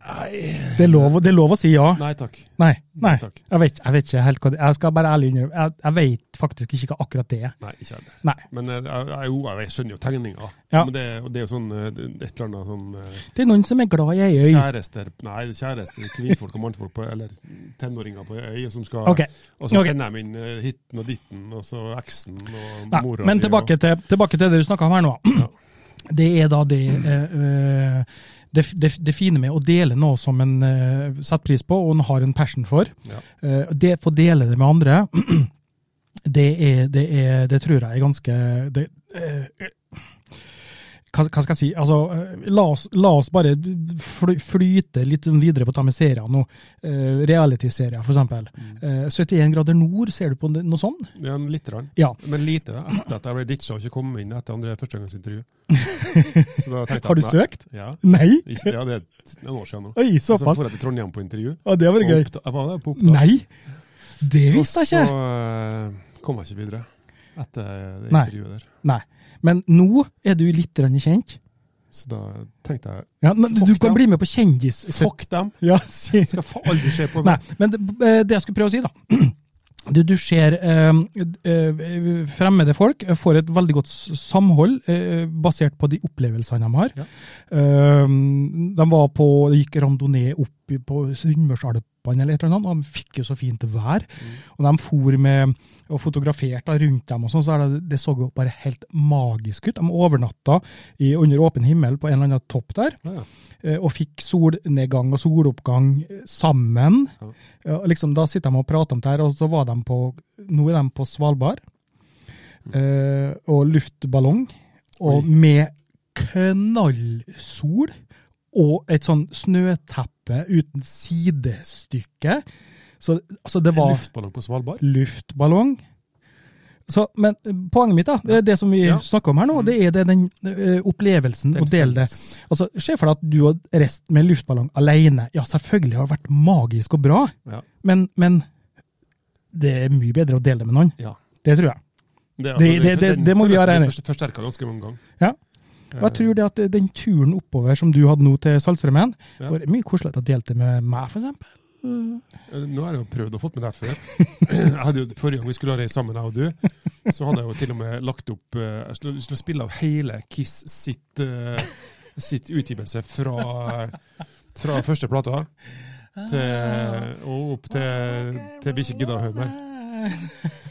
Speaker 2: Nei,
Speaker 1: Det er lov, det er lov å si ja.
Speaker 2: nei takk.
Speaker 1: Nei. nei.
Speaker 2: takk.
Speaker 1: Jeg, vet, jeg vet ikke helt hva det Jeg skal bare ærlig innrømme, jeg, jeg vet faktisk ikke hva akkurat det er.
Speaker 2: Nei, ikke heller.
Speaker 1: Nei.
Speaker 2: Men eh, jeg, jeg, jo, jeg skjønner jo tegninga.
Speaker 1: Ja.
Speaker 2: Men det, og det er jo sånn eh, det- et eller annet sånn eh,
Speaker 1: Det er noen som er glad i ei øy.
Speaker 2: Kjærester Nei, kjærester, kvinnfolk og mannfolk på, eller tenåringer på ei øy som skal
Speaker 1: Ok.
Speaker 2: Og så
Speaker 1: ok.
Speaker 2: sender de inn eh, hitten og ditten, og så eksen og
Speaker 1: Nei,
Speaker 2: mora
Speaker 1: men
Speaker 2: di,
Speaker 1: tilbake til, tilbake til det du snakka om her nå. [clears throat] Det er da det, eh, eh, det, det, det fine med å dele noe som en eh, setter pris på og en har en passion for.
Speaker 2: og, ja.
Speaker 1: Eh, det Få dele det med andre, [clears throat] det, er, det, er, det tror jeg er ganske det, eh, eh, hva, hva skal jeg si? Altså, eh, la, oss, la oss bare fly, flyte litt sånn videre på dette med serier nå. Uh, Reality-serier, for eksempel.
Speaker 2: Mm.
Speaker 1: Eh, 71 grader nord, ser du på noe sånn? sånt?
Speaker 2: ja, en lite grann.
Speaker 1: Ja.
Speaker 2: Men lite da, etter at jeg ble ditcha og ikke kom inn etter andre
Speaker 1: [laughs]
Speaker 2: førstegangsintervju. Så da tenkte jeg
Speaker 1: Har du
Speaker 2: at nei,
Speaker 1: søkt?
Speaker 2: Ja.
Speaker 1: Nei?
Speaker 2: Ikke, ja, det er noen år siden nå.
Speaker 1: Oi,
Speaker 2: Så får
Speaker 1: såpass.
Speaker 2: jeg til Trondheim på intervju.
Speaker 1: Ja, det var
Speaker 2: og
Speaker 1: gøy.
Speaker 2: oppta- Jeg var der på opptak.
Speaker 1: Nei, det visste jeg ikke.
Speaker 2: Og så eh, kom jeg ikke videre etter det
Speaker 1: Nei.
Speaker 2: intervjuet der.
Speaker 1: Nei. Men nå er du litt grann kjent.
Speaker 2: Så da tenkte jeg
Speaker 1: Ja, men du
Speaker 2: Fuck
Speaker 1: kan
Speaker 2: dem.
Speaker 1: bli med på kjendis...
Speaker 2: fuck dem!
Speaker 1: Ja, [laughs] si-
Speaker 2: Skal fa- aldri se
Speaker 1: [laughs]
Speaker 2: på
Speaker 1: Nei, men det, eh, det jeg skulle prøve å si, da. [clears throat] Du, du ser eh, eh, fremmede folk eh, får et veldig godt s- samhold eh, basert på de opplevelsene de har.
Speaker 2: Ja.
Speaker 1: Eh, de var på, de gikk randonee opp i- på Sunnmørsalpene eller et eller annet, og de fikk jo så fint vær.
Speaker 2: Mm.
Speaker 1: Og de for med og fotograferte da rundt dem, og sånn, så er det, det så jo bare helt magisk ut. De overnatta i, under åpen himmel på en eller annen topp der
Speaker 2: Ja, ja.
Speaker 1: eh, og fikk solnedgang og soloppgang eh, sammen.
Speaker 2: Ja.
Speaker 1: Ja, og liksom, da sitter de og prater om det her, og så var de på, nå er de på Svalbard, eh, og luftballong, og
Speaker 2: Mm. Oi.
Speaker 1: med knallsol, og et sånn snøteppe uten sidestykke. Så altså, det var
Speaker 2: Luftballong på Svalbard?
Speaker 1: luftballong. Så, men eh, poenget mitt, da, det, det som vi
Speaker 2: Ja. Mm.
Speaker 1: snakker om her nå, det er det, den eh, opplevelsen, å dele det.
Speaker 2: felles.
Speaker 1: Altså, Se for deg at du og reist med luftballong alene. Ja, selvfølgelig har det vært magisk og bra,
Speaker 2: Ja.
Speaker 1: men, men det er mye bedre å dele det med noen.
Speaker 2: ja.
Speaker 1: Det tror jeg.
Speaker 2: Det,
Speaker 1: Det- det- det- det må vi være enige i.
Speaker 2: Forsterka ganske mange ganger. Eh,
Speaker 1: Ja. Og jeg tror det at den turen oppover som du hadde nå til Saltstraumen,
Speaker 2: Ja.
Speaker 1: var mye koseligere å dele det med meg, for eksempel.
Speaker 2: Eh, Nå har jeg jo prøvd å få med deg [laughs] før. Jeg hadde jo, forrige gang vi skulle ha reist sammen, jeg og du, så hadde jeg jo til og med lagt opp eh, Jeg skulle, skulle spille av hele Kiss sitt, eh, sitt utgivelse fra, fra første plata til, og opp til, til vi ikke gidder å høre mer.
Speaker 1: [laughs]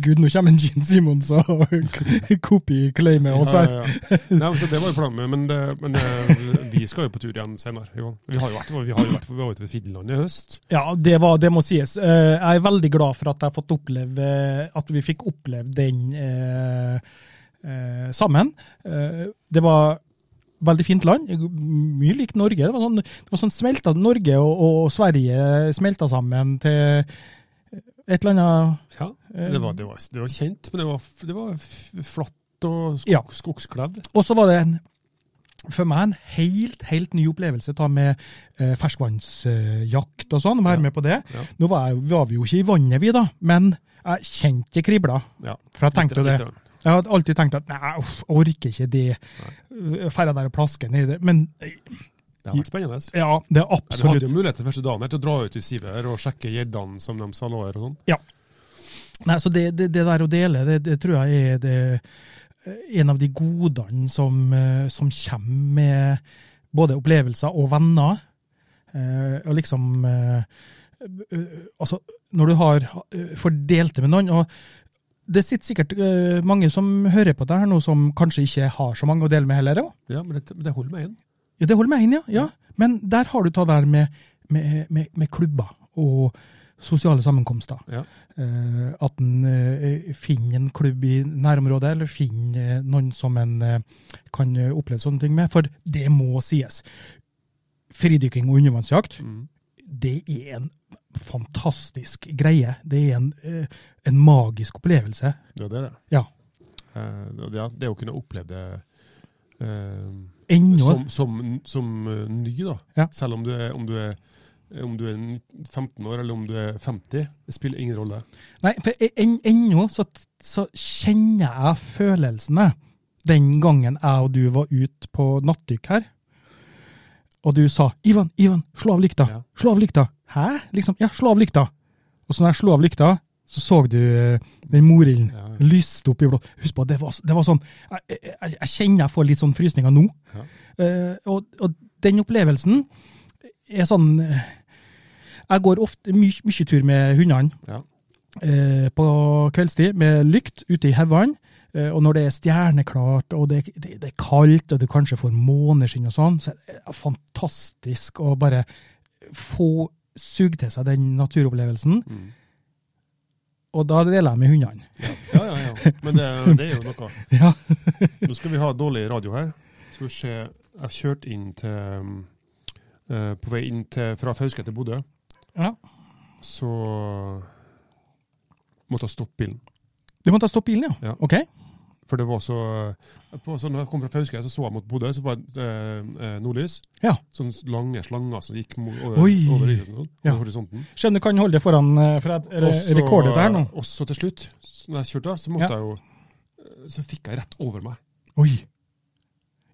Speaker 1: Gud, nå kommer en Gene Simons og [laughs] copy-claimer oss her.
Speaker 2: Ja, ja, ja. Nei, men så det var jo planen, men, det, men eh, vi skal jo på tur igjen senere. Johan. Vi har jo vært, vi har jo vært, vi var jo til Finland i høst.
Speaker 1: Ja, det, var, det må sies. Eh, Jeg er veldig glad for at jeg har fått oppleve at vi fikk opplevd den eh, eh, sammen. Eh, det var veldig fint land. Mye likt Norge. Det var sånn, det var sånn smelta Norge og, og Sverige smelta sammen til et eller annet eh,
Speaker 2: Ja, det var, det var, det var kjent, men det var, det var f- flatt og skog,
Speaker 1: Ja.
Speaker 2: skogskledd.
Speaker 1: Og så var det en, for meg en helt, helt ny opplevelse ta med eh, ferskvannsjakt og sånn. Være
Speaker 2: Ja.
Speaker 1: med på det.
Speaker 2: Ja.
Speaker 1: Nå var, jeg, var vi jo ikke i vannet, vi da, men jeg kjente det kribla.
Speaker 2: Ja,
Speaker 1: For jeg tenkte jo det.
Speaker 2: Litt- litt.
Speaker 1: Jeg hadde alltid tenkt at nei, uff, orker ikke det. Færre der og plaske ned i det. Men
Speaker 2: Det har vært spennende. Ja,
Speaker 1: ja, det er
Speaker 2: Du hadde
Speaker 1: absolutt
Speaker 2: jo mulighet den første dagen her til å dra ut i sivet her og sjekke gjeddene som de sa lå her og sånn.
Speaker 1: Ja. Nei, så det, det, det der å dele, det, det tror jeg er det, en av de godene som, eh, som kommer med både opplevelser og venner. Eh, og liksom eh, eh, Altså, når du har eh, fordelt det med noen og Det sitter sikkert eh, mange som hører på det her nå, som kanskje ikke har så mange å dele med heller. Ja.
Speaker 2: Ja, men det, men det holder meg inn.
Speaker 1: Ja, det holder meg inn, ja. ja. Men der har du ta der med, med, med, med klubber og sosiale sammenkomster.
Speaker 2: Ja.
Speaker 1: Eh, at en eh, finner en klubb i nærområdet, eller finner eh, noen som en eh, kan eh, oppleve sånne ting med. For det må sies. Fridykking og undervannsjakt,
Speaker 2: Mm.
Speaker 1: det er en fantastisk greie. Det er en, eh, en magisk opplevelse.
Speaker 2: Det er det, det.
Speaker 1: Ja.
Speaker 2: Eh, og det, det å kunne oppleve det eh,
Speaker 1: Ennå.
Speaker 2: som, som, som eh, ny, da.
Speaker 1: Ja.
Speaker 2: Selv om du, er, om, du er, om du er 15 år eller om du er 50, det spiller ingen rolle.
Speaker 1: Nei, for en- en- ennå så, så kjenner jeg følelsene den gangen jeg og du var ute på nattdykk her. Og du sa 'Ivan, Ivan, slå av lykta'.
Speaker 2: Ja.
Speaker 1: Slå av lykta. Hæ? Liksom, ja, slå av lykta. Og så når jeg slo av lykta, så så du eh, den morilden
Speaker 2: Ja.
Speaker 1: lyste opp i blått. Husk på, det var, det var sånn jeg, jeg, jeg kjenner jeg får litt sånn frysninger nå.
Speaker 2: Ja.
Speaker 1: Eh, og, og den opplevelsen er sånn eh, Jeg går ofte my, mye tur med hundene
Speaker 2: Ja.
Speaker 1: eh, på kveldstid med lykt ute i haugene. eh, Og når det er stjerneklart, og det, det, det er kaldt, og du kanskje får måneskinn og sånn, så er det fantastisk å bare få suge til seg den naturopplevelsen.
Speaker 2: Mm.
Speaker 1: Og da deler jeg med hundene.
Speaker 2: Ja, ja, ja. Men det, det er jo noe.
Speaker 1: [laughs] Ja.
Speaker 2: Nå skal vi ha dårlig radio her. Skal vi se. Jeg kjørte inn til um, eh, På vei inn til, fra Fauske til Bodø,
Speaker 1: ja.
Speaker 2: så måtte jeg stoppe bilen.
Speaker 1: Du måtte stoppe bilen, ja?
Speaker 2: Ja.
Speaker 1: Ok.
Speaker 2: For det var så eh, på, så Når jeg kom fra Fauske, så så jeg mot Bodø, så var det eh, eh, nordlys.
Speaker 1: Ja.
Speaker 2: Sånne lange slanger som gikk mo- over,
Speaker 1: Oi!
Speaker 2: over, lyset, sånn,
Speaker 1: Ja.
Speaker 2: over horisonten.
Speaker 1: Skjønner du kan holde det foran eh, for jeg re-
Speaker 2: Og så-
Speaker 1: rekorder det her nå.
Speaker 2: Og så til slutt, så når jeg kjørte, så måtte
Speaker 1: Ja.
Speaker 2: jeg jo eh, Så fikk jeg rett over meg.
Speaker 1: Oi.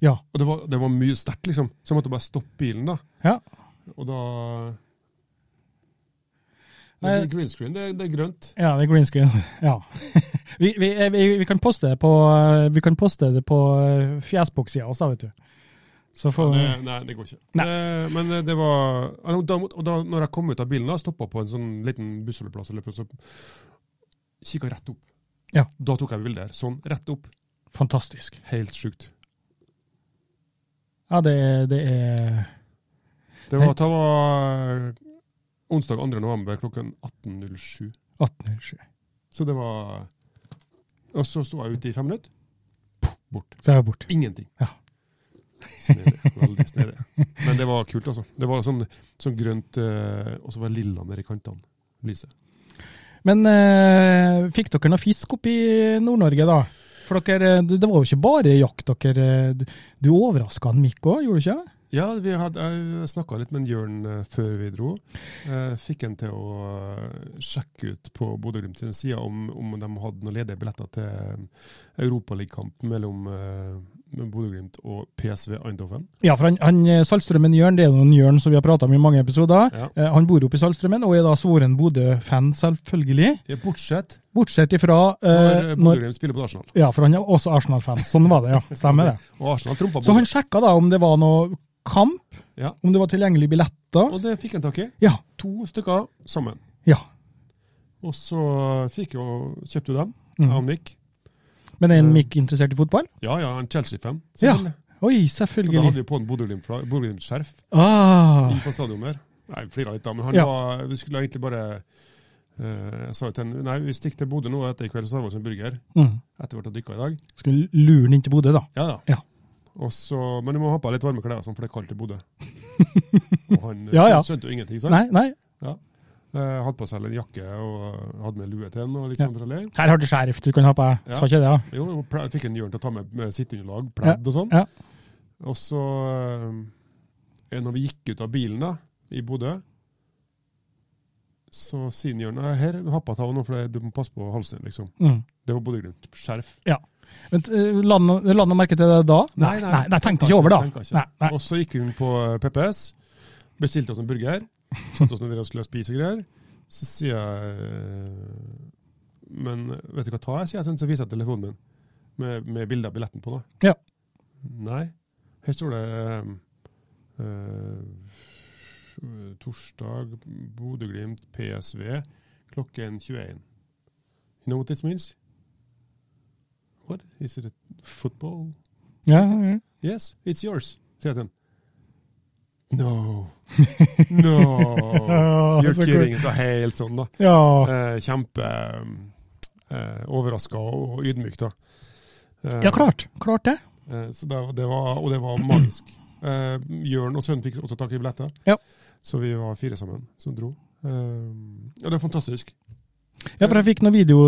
Speaker 1: Ja.
Speaker 2: Og det var, det var mye sterkt, liksom. Så jeg måtte bare stoppe bilen, da.
Speaker 1: Ja.
Speaker 2: Og da det
Speaker 1: Nei.
Speaker 2: er Green screen, det, er- det er grønt.
Speaker 1: Ja, det er green screen. [laughs] Ja. Vi, vi, eh, vi, vi kan poste det på, eh, vi kan poste det på eh, fjesboksida også, vet du. Så får vi
Speaker 2: Det, nei, det går ikke. Eh, men det var og da, og da når jeg kom ut av bilen, da, stoppa på en sånn liten bussholdeplass, eller plass, kikka rett opp.
Speaker 1: Ja.
Speaker 2: Da tok jeg bilder. Sånn, rett opp.
Speaker 1: Fantastisk.
Speaker 2: Helt sjukt.
Speaker 1: Ja, det, det er
Speaker 2: Det var, det var eh, onsdag 2. november klokken 18.07.
Speaker 1: 1807.
Speaker 2: Så det var Og så sto jeg ute i fem minutter. Puh, Bort.
Speaker 1: Så er jeg borte.
Speaker 2: Ingenting.
Speaker 1: Ja.
Speaker 2: Snedig. Veldig snedig. Men det var kult, altså. Det var sånn, sånn grønt, eh, og så var det lilla nede i kantene. Lyset.
Speaker 1: Men eh, fikk dere noe fisk opp i Nord-Norge, da? For dere, eh, det det var jo ikke bare jakt dere eh, Du, du overraska Mikk òg, gjorde du ikke?
Speaker 2: Ja, vi hadde, jeg snakka litt med en Jørn eh, før vi dro. Eh, fikk han til å eh, sjekke ut på Bodø-Glimt sine sider om, om de hadde noen ledige billetter til eh, europaligakamp mellom eh, Bodø-Glimt og PSV Eindhoven.
Speaker 1: Ja, for han, han eh, Saltstrømmen Jørn, det er jo en Jørn som vi har prata om i mange episoder.
Speaker 2: Ja.
Speaker 1: Eh, Han bor oppe i Saltstrømmen og er da svoren Bodø-fan, selvfølgelig.
Speaker 2: Ja, Bortsett
Speaker 1: Bortsett ifra eh,
Speaker 2: når
Speaker 1: når,
Speaker 2: Bodø-Glimt spiller mot Arsenal.
Speaker 1: Ja, for han er også Arsenal-fan. Sånn var det, ja. Stemmer det.
Speaker 2: Og Arsenal trumpa
Speaker 1: Så
Speaker 2: Bodø.
Speaker 1: han sjekka da om det var noe kamp,
Speaker 2: Ja.
Speaker 1: om det var tilgjengelige billetter.
Speaker 2: Og det fikk han tak i.
Speaker 1: Ja.
Speaker 2: To stykker sammen.
Speaker 1: ja.
Speaker 2: Og så fikk jo, kjøpte jo dem.
Speaker 1: Mhm.
Speaker 2: Jeg og Nick.
Speaker 1: Men er en
Speaker 2: Mm.
Speaker 1: Mick interessert i fotball?
Speaker 2: Ja, ja, en Chelsea-fan.
Speaker 1: Ja,
Speaker 2: selvfølgelig.
Speaker 1: Oi,
Speaker 2: Så da hadde
Speaker 1: selvfølgelig.
Speaker 2: vi på en Bodø-Glimt-skjerf
Speaker 1: Ah.
Speaker 2: inne på stadion der. Nei, vi flira litt da, men han
Speaker 1: Ja.
Speaker 2: var Vi skulle egentlig bare eh, Jeg sa jo til han Nei, vi stikker til Bodø nå etter i kveld, så tar vi oss en burger.
Speaker 1: Mm.
Speaker 2: Etter hvert har dykka i dag.
Speaker 1: Skulle lure han inn til Bodø, da.
Speaker 2: Ja da.
Speaker 1: Ja.
Speaker 2: Og så, men du må ha på deg litt varme klær, og sånn, for det er kaldt i
Speaker 1: [laughs]
Speaker 2: Bodø. Og han eh,
Speaker 1: Ja, ja.
Speaker 2: skjønte, skjønte jo ingenting, sant?
Speaker 1: Nei, nei.
Speaker 2: Eh, hadde på seg en jakke og hadde med lue til den. og litt
Speaker 1: Ja.
Speaker 2: sånn forskjellig.
Speaker 1: Her har du sheriff du kan ha på deg.
Speaker 2: Ja.
Speaker 1: Sa ikke det, ja.
Speaker 2: Jo, og ple- fikk en Jørn til å ta med, med sitteunderlag, pledd og sånn.
Speaker 1: ja.
Speaker 2: Og så eh, Når vi gikk ut av bilen da, i Bodø, så sier Jørn «Nei, her, hoppa ta av nå, for det- du må passe på halsen. liksom.
Speaker 1: Mm.
Speaker 2: Det var Bodø-Glimt. Skjerf.
Speaker 1: Vent, eh, La han merke til det da?
Speaker 2: Nei, nei,
Speaker 1: nei, nei tenkte
Speaker 2: tenker
Speaker 1: ikke over det.
Speaker 2: ikke, tenker ikke.
Speaker 1: Nei, nei.
Speaker 2: Og så gikk hun på eh, PPS, bestilte oss en burger, satte oss ned der og skulle spise og greier. Så sier jeg eh, Men vet du hva ta jeg sier? jeg, sånn, Så viser jeg telefonen min med, med bilde av billetten på. da.
Speaker 1: Ja.
Speaker 2: Nei. Her står det eh, eh, Torsdag, Bodø-Glimt, PSV, klokken 21. You know what this means? What? Is it a football?
Speaker 1: Ja, ja.
Speaker 2: Yes, it's yours, sier jeg til han.
Speaker 1: [laughs]
Speaker 2: No. No.
Speaker 1: Ja,
Speaker 2: You're
Speaker 1: så cool.
Speaker 2: kidding. Så helt sånn, da.
Speaker 1: Ja.
Speaker 2: Eh, kjempe eh, overraska og og ydmyk, da. Eh,
Speaker 1: ja, klart. Klart det.
Speaker 2: Eh, så det, det var, og det var magisk. Eh, Jørn og sønnen fikk også tak i billetter,
Speaker 1: Ja.
Speaker 2: så vi var fire sammen som dro. Eh, ja, det er fantastisk.
Speaker 1: Ja, for jeg fikk noen video,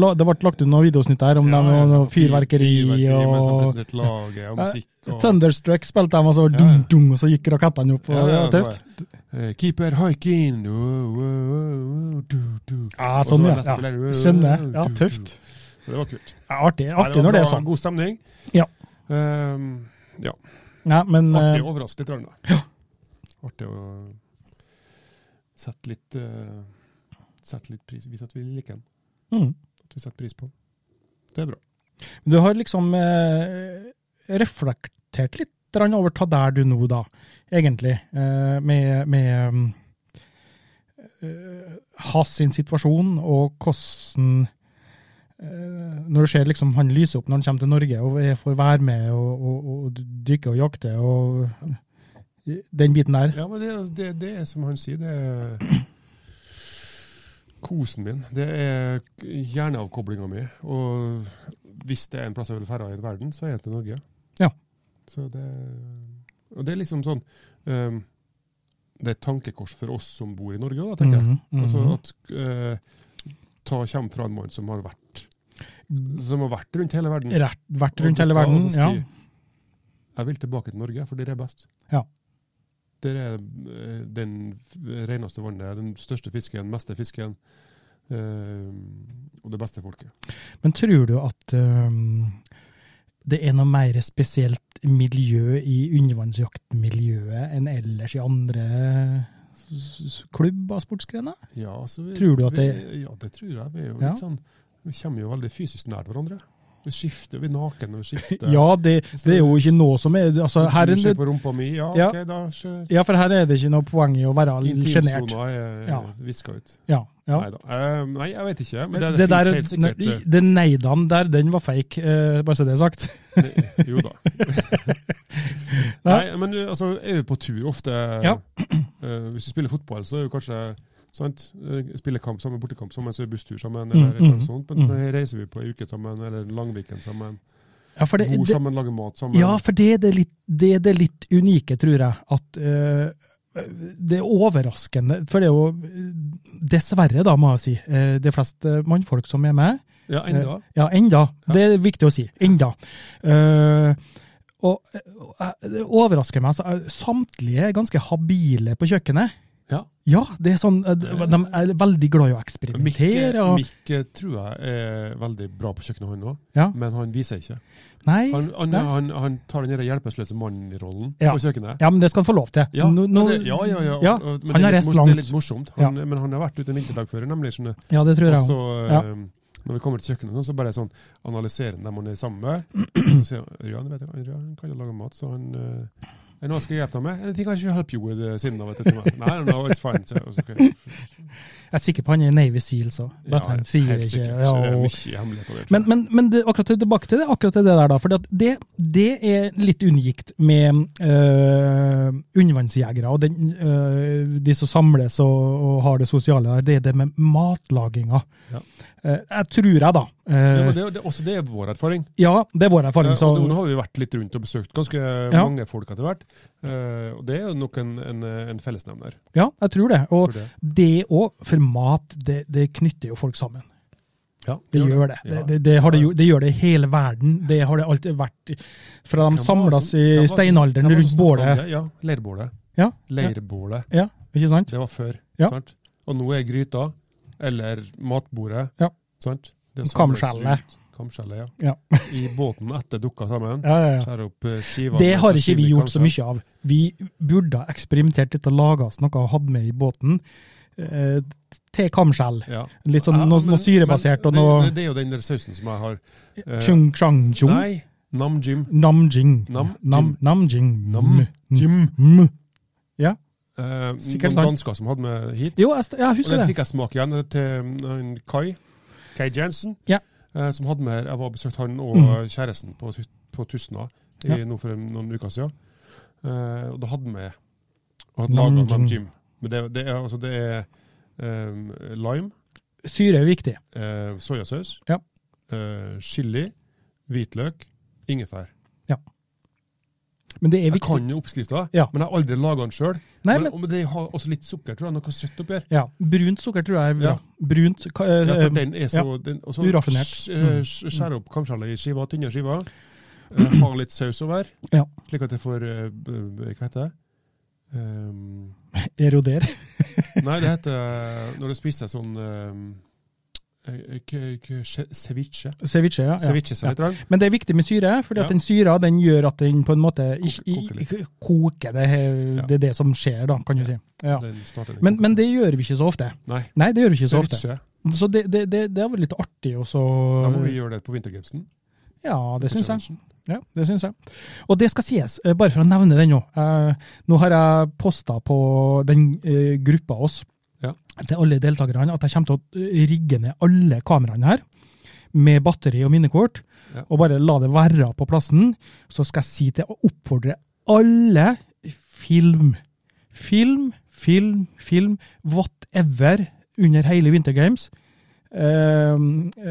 Speaker 1: la- Det ble lagt ut noen videosnutt der om
Speaker 2: ja,
Speaker 1: dem, og
Speaker 2: ja,
Speaker 1: noe fyrverkeri
Speaker 2: Mens de
Speaker 1: og Eh,
Speaker 2: presenterte laget og
Speaker 1: Ja,
Speaker 2: eh, musikk. Og,
Speaker 1: Thunderstruck spilte de, og så var det
Speaker 2: Ja, ja.
Speaker 1: dung, dung, og så gikk rakettene opp. Og,
Speaker 2: Ja, ja,
Speaker 1: det var tøft.
Speaker 2: så var det, eh, Keeper hiking wow, wow, wow, du, du.
Speaker 1: Ja,
Speaker 2: Og så
Speaker 1: sånn, ja.
Speaker 2: var det neste
Speaker 1: ja.
Speaker 2: spiller, wow,
Speaker 1: Skjønner jeg. Ja,
Speaker 2: du, du.
Speaker 1: tøft.
Speaker 2: Så det var kult.
Speaker 1: Ja, artig
Speaker 2: Nei,
Speaker 1: artig når det
Speaker 2: bra-
Speaker 1: er sånn.
Speaker 2: God stemning.
Speaker 1: Ja.
Speaker 2: Eh,
Speaker 1: Nei, men
Speaker 2: Artig
Speaker 1: eh,
Speaker 2: å overraske litt. Ragnar. Artig å sette litt, eh, sette litt pris Vise at vi liker den.
Speaker 1: mm.
Speaker 2: At vi setter pris på den. Det er bra.
Speaker 1: Du har liksom eh, reflektert litt grann over ta der du nå, da, egentlig, eh, med, med um, eh, Hass sin situasjon, og hvordan eh, Når du ser liksom han lyser opp når han kommer til Norge og er- får være med og, og, og dykke og jakte og den biten der.
Speaker 2: Ja, men det, det, det er som han sier, det er kosen min. Det er hjerneavkoblinga mi. Og hvis det er en plass jeg vil ferde i verden, så er det til Norge.
Speaker 1: Ja.
Speaker 2: Så det, og det er liksom sånn eh, Det er et tankekors for oss som bor i Norge, da, tenker jeg.
Speaker 1: Mhm, mhm.
Speaker 2: Altså at eh, ta kjem fra en mann som har vært som har vært rundt hele verden.
Speaker 1: Rett, vært rundt hele
Speaker 2: Og ta og
Speaker 1: verden.
Speaker 2: så
Speaker 1: Ja.
Speaker 2: si, Jeg vil tilbake til Norge, for der er best.
Speaker 1: Ja.
Speaker 2: Der er eh, den reneste vannet, den største fisken, meste fisken. eh, og det beste folket.
Speaker 1: Men tror du at øhm, det er noe mer spesielt miljø i undervannsjaktmiljøet enn ellers i andre s- s- klubb av sportsgrener?
Speaker 2: Ja, altså, vi,
Speaker 1: Tror du at det-
Speaker 2: vi, Ja, det tror jeg. Vi er jo
Speaker 1: Ja.
Speaker 2: litt sånn Vi kommer jo veldig fysisk nært hverandre. Vi skifter, vi er nakne, vi skifter.
Speaker 1: Ja, det, det er jo ikke noe som er altså, her,
Speaker 2: Du ser
Speaker 1: er-
Speaker 2: på rumpa mi, ja,
Speaker 1: Ja.
Speaker 2: ok, da skjer
Speaker 1: Ja, for her er det ikke noe poeng i å være litt sjenert.
Speaker 2: Intimsona er
Speaker 1: Ja.
Speaker 2: viska ut.
Speaker 1: Ja, ja.
Speaker 2: Neida. Eh, nei, jeg vet ikke. Men det, det,
Speaker 1: Det der,
Speaker 2: finnes helt sikkert
Speaker 1: nei, det nei-dagen der, den var fake, eh, bare så det er sagt.
Speaker 2: eh,
Speaker 1: [laughs]
Speaker 2: Jo da. nei, men eh, altså, er vi på tur ofte
Speaker 1: Ja.
Speaker 2: [clears throat] eh, Hvis vi spiller fotball, så er jo kanskje sant? Eh, Spiller kamp sammen, bortekamp sammen, så er busstur sammen,
Speaker 1: Mm,
Speaker 2: eller et eller
Speaker 1: mm,
Speaker 2: annet sånt. Men
Speaker 1: mm.
Speaker 2: eh, reiser vi på ei uke sammen, eller Langviken sammen,
Speaker 1: Ja, for det,
Speaker 2: bor
Speaker 1: det,
Speaker 2: sammen, lager mat sammen.
Speaker 1: Ja, for det er det litt, det er det litt unike, tror jeg. At eh, det er overraskende. For det er jo eh, dessverre, da, må jeg si, eh, det er flest eh, mannfolk som er med. eh,
Speaker 2: Ja, enda.
Speaker 1: Ja, enda.
Speaker 2: Ja.
Speaker 1: Det er viktig å si. Enda. Eh, og eh, og jeg- det overrasker meg. Altså, eh, samtlige er ganske habile på kjøkkenet.
Speaker 2: Ja.
Speaker 1: Ja, det er sånn, eh, de er veldig glad i å eksperimentere. Og,
Speaker 2: Mikk eh, tror jeg er veldig bra på kjøkkenet, han òg,
Speaker 1: ja.
Speaker 2: men han viser ikke.
Speaker 1: Nei,
Speaker 2: Han, han,
Speaker 1: Nei.
Speaker 2: han, han tar den der hjelpeløse mannen-rollen
Speaker 1: Ja.
Speaker 2: på kjøkkenet.
Speaker 1: ja, men det skal han få lov til.
Speaker 2: Ja,
Speaker 1: Nå- nå-
Speaker 2: men det, ja, ja, ja.
Speaker 1: ja,
Speaker 2: og- men
Speaker 1: han har
Speaker 2: det er litt
Speaker 1: reist
Speaker 2: mors-
Speaker 1: langt.
Speaker 2: Det er litt morsomt. Han, Men han har vært ute en vinterdag før, nemlig. Skjønne.
Speaker 1: ja, det tror
Speaker 2: Og
Speaker 1: jeg også.
Speaker 2: så,
Speaker 1: Ja.
Speaker 2: eh, når vi kommer til kjøkkenet, sånn, så bare sånn, analyserer han dem han er sammen med. Så sier han Ørjan vet du, Ørjan kan jo lage mat, så han eh, er det noe jeg skal hjelpe deg med? Anything I should help you with, eh, siden av etter meg.
Speaker 1: [laughs]
Speaker 2: Nei, no, it's fine. Så, og så, okay.
Speaker 1: Jeg er sikker på han er Navy Seal, så. Bare at han sier
Speaker 2: helt
Speaker 1: det ikke.
Speaker 2: sikkert.
Speaker 1: Ja,
Speaker 2: Så det er
Speaker 1: og...
Speaker 2: mye hemmelighet over det.
Speaker 1: Men, men, men det, akkurat tilbake til det, akkurat til det der, da. For det, det er litt unikt med øh, undervannsjegere og den, øh, de som samles og, og har det sosiale der. Det er det med matlaginga.
Speaker 2: Ja.
Speaker 1: Eh, jeg tror jeg, da.
Speaker 2: ja,
Speaker 1: Eh,
Speaker 2: men det, det, også det er vår erfaring.
Speaker 1: ja, det er vår
Speaker 2: Ja,
Speaker 1: erfaring. Så,
Speaker 2: og nå har vi vært litt rundt og besøkt ganske
Speaker 1: Ja.
Speaker 2: mange folk etter hvert. eh, og det er jo nok en, en, en fellesnevner.
Speaker 1: ja, jeg tror det.
Speaker 2: for
Speaker 1: Og
Speaker 2: det.
Speaker 1: det òg, for mat, det, det knytter jo folk sammen.
Speaker 2: Ja,
Speaker 1: Det gjør det.
Speaker 2: Ja.
Speaker 1: Det, det, det, har det, gjort- det gjør det i hele verden. Det har det alltid vært. Fra
Speaker 2: Hvem
Speaker 1: de
Speaker 2: var
Speaker 1: samles
Speaker 2: som-
Speaker 1: i
Speaker 2: hvem var som- hvem
Speaker 1: steinalderen
Speaker 2: var som
Speaker 1: rundt
Speaker 2: snakket om
Speaker 1: bålet.
Speaker 2: det? Ja, leirbålet.
Speaker 1: Ja, ja,
Speaker 2: Leirbålet.
Speaker 1: ja, ikke sant?
Speaker 2: Det var før.
Speaker 1: Ja.
Speaker 2: Sant? Og nå er gryta, eller matbordet,
Speaker 1: Ja.
Speaker 2: sant? Det
Speaker 1: Og
Speaker 2: samles
Speaker 1: kamskjellet.
Speaker 2: rundt- Kamskjellet, ja.
Speaker 1: Ja.
Speaker 2: I båten etter dukka sammen.
Speaker 1: Ja, ja, ja.
Speaker 2: Skjære opp eh, skivene.
Speaker 1: Det
Speaker 2: med
Speaker 1: har ikke vi
Speaker 2: sashimi,
Speaker 1: gjort så
Speaker 2: kanskje.
Speaker 1: mye av. Vi burde ha eksperimentert litt og laga oss noe og hatt med i båten. Eh, til kamskjell.
Speaker 2: Ja.
Speaker 1: Litt sånn noe,
Speaker 2: men-
Speaker 1: noe syrebasert og
Speaker 2: men
Speaker 1: noe
Speaker 2: det, det er jo den der sausen som jeg har. eh,
Speaker 1: chung chang chung
Speaker 2: Nei, Namjim.
Speaker 1: Namjing.
Speaker 2: Nam-
Speaker 1: Nam- Namjing.
Speaker 2: Nam- Jim.
Speaker 1: Mm.
Speaker 2: Eh,
Speaker 1: Sikkert
Speaker 2: noen
Speaker 1: sant.
Speaker 2: dansker som hadde med hit.
Speaker 1: Jo, jeg, st- jeg
Speaker 2: Og
Speaker 1: husker
Speaker 2: den
Speaker 1: det.
Speaker 2: fikk jeg smake igjen eh, til en Kai, Kai Jensen,
Speaker 1: Ja.
Speaker 2: eh, som hadde med her. Jeg var og besøkte han og
Speaker 1: Mm.
Speaker 2: eh, kjæresten på, Tu- på Tustna i,
Speaker 1: Ja.
Speaker 2: nå for en- noen uker siden. Eh, og da hadde han med Og laga
Speaker 1: Namjim.
Speaker 2: namjim. Men det, det er, altså, det er ehm, lime,
Speaker 1: Syre er viktig.
Speaker 2: eh, soyasaus,
Speaker 1: Ja.
Speaker 2: eh, chili, hvitløk, ingefær.
Speaker 1: Men det er
Speaker 2: Jeg
Speaker 1: viktig.
Speaker 2: kan jo oppskrifta,
Speaker 1: Ja.
Speaker 2: men jeg har aldri laga den sjøl.
Speaker 1: Nei,
Speaker 2: Men,
Speaker 1: men,
Speaker 2: og- men det har også litt sukker, tror jeg. Noe søtt oppi her.
Speaker 1: ja, brunt sukker tror jeg er bra.
Speaker 2: Ja.
Speaker 1: Brunt ka- eh,
Speaker 2: Ja, for den er så, den, og så
Speaker 1: Uraffinert. Mm.
Speaker 2: sk- eh, sk- Skjære opp kamskjellet i skiver, tynne skiver. eh, Ha litt saus over,
Speaker 1: Ja.
Speaker 2: slik at jeg får eh, b- b- Hva heter det? Ehm,
Speaker 1: eroder.
Speaker 2: nei, det heter Når du spiser sånn ehm, eh, k- k- ce- ceviche.
Speaker 1: Ceviche, ja. ja.
Speaker 2: Ceviche, sa jeg litt.
Speaker 1: Men det er viktig med syre, fordi
Speaker 2: Ja.
Speaker 1: at den syra den gjør at den på en måte ikke,
Speaker 2: Koker litt.
Speaker 1: ikke koker. Det, er- det er det som skjer, da, kan du si. Ja.
Speaker 2: Den starter litt.
Speaker 1: Men, men det gjør vi ikke så ofte.
Speaker 2: Nei,
Speaker 1: Nei, det gjør vi ikke så ofte.
Speaker 2: ceviche.
Speaker 1: Så det, det, det, det har vært litt artig også.
Speaker 2: Da må vi gjøre det på vintergapsen.
Speaker 1: Ja, det syns jeg. Ja, det synes jeg. Og det skal sies, eh, bare for å nevne den nå. eh, Nå har jeg posta på den eh, gruppa oss
Speaker 2: Ja.
Speaker 1: til alle deltakerne at jeg kommer til å eh, rigge ned alle kameraene her med batteri og minnekort,
Speaker 2: Ja.
Speaker 1: og bare la det være på plassen. Så skal jeg si til å oppfordre alle film. Film, film, film, whatever under hele Winter Games. Eh,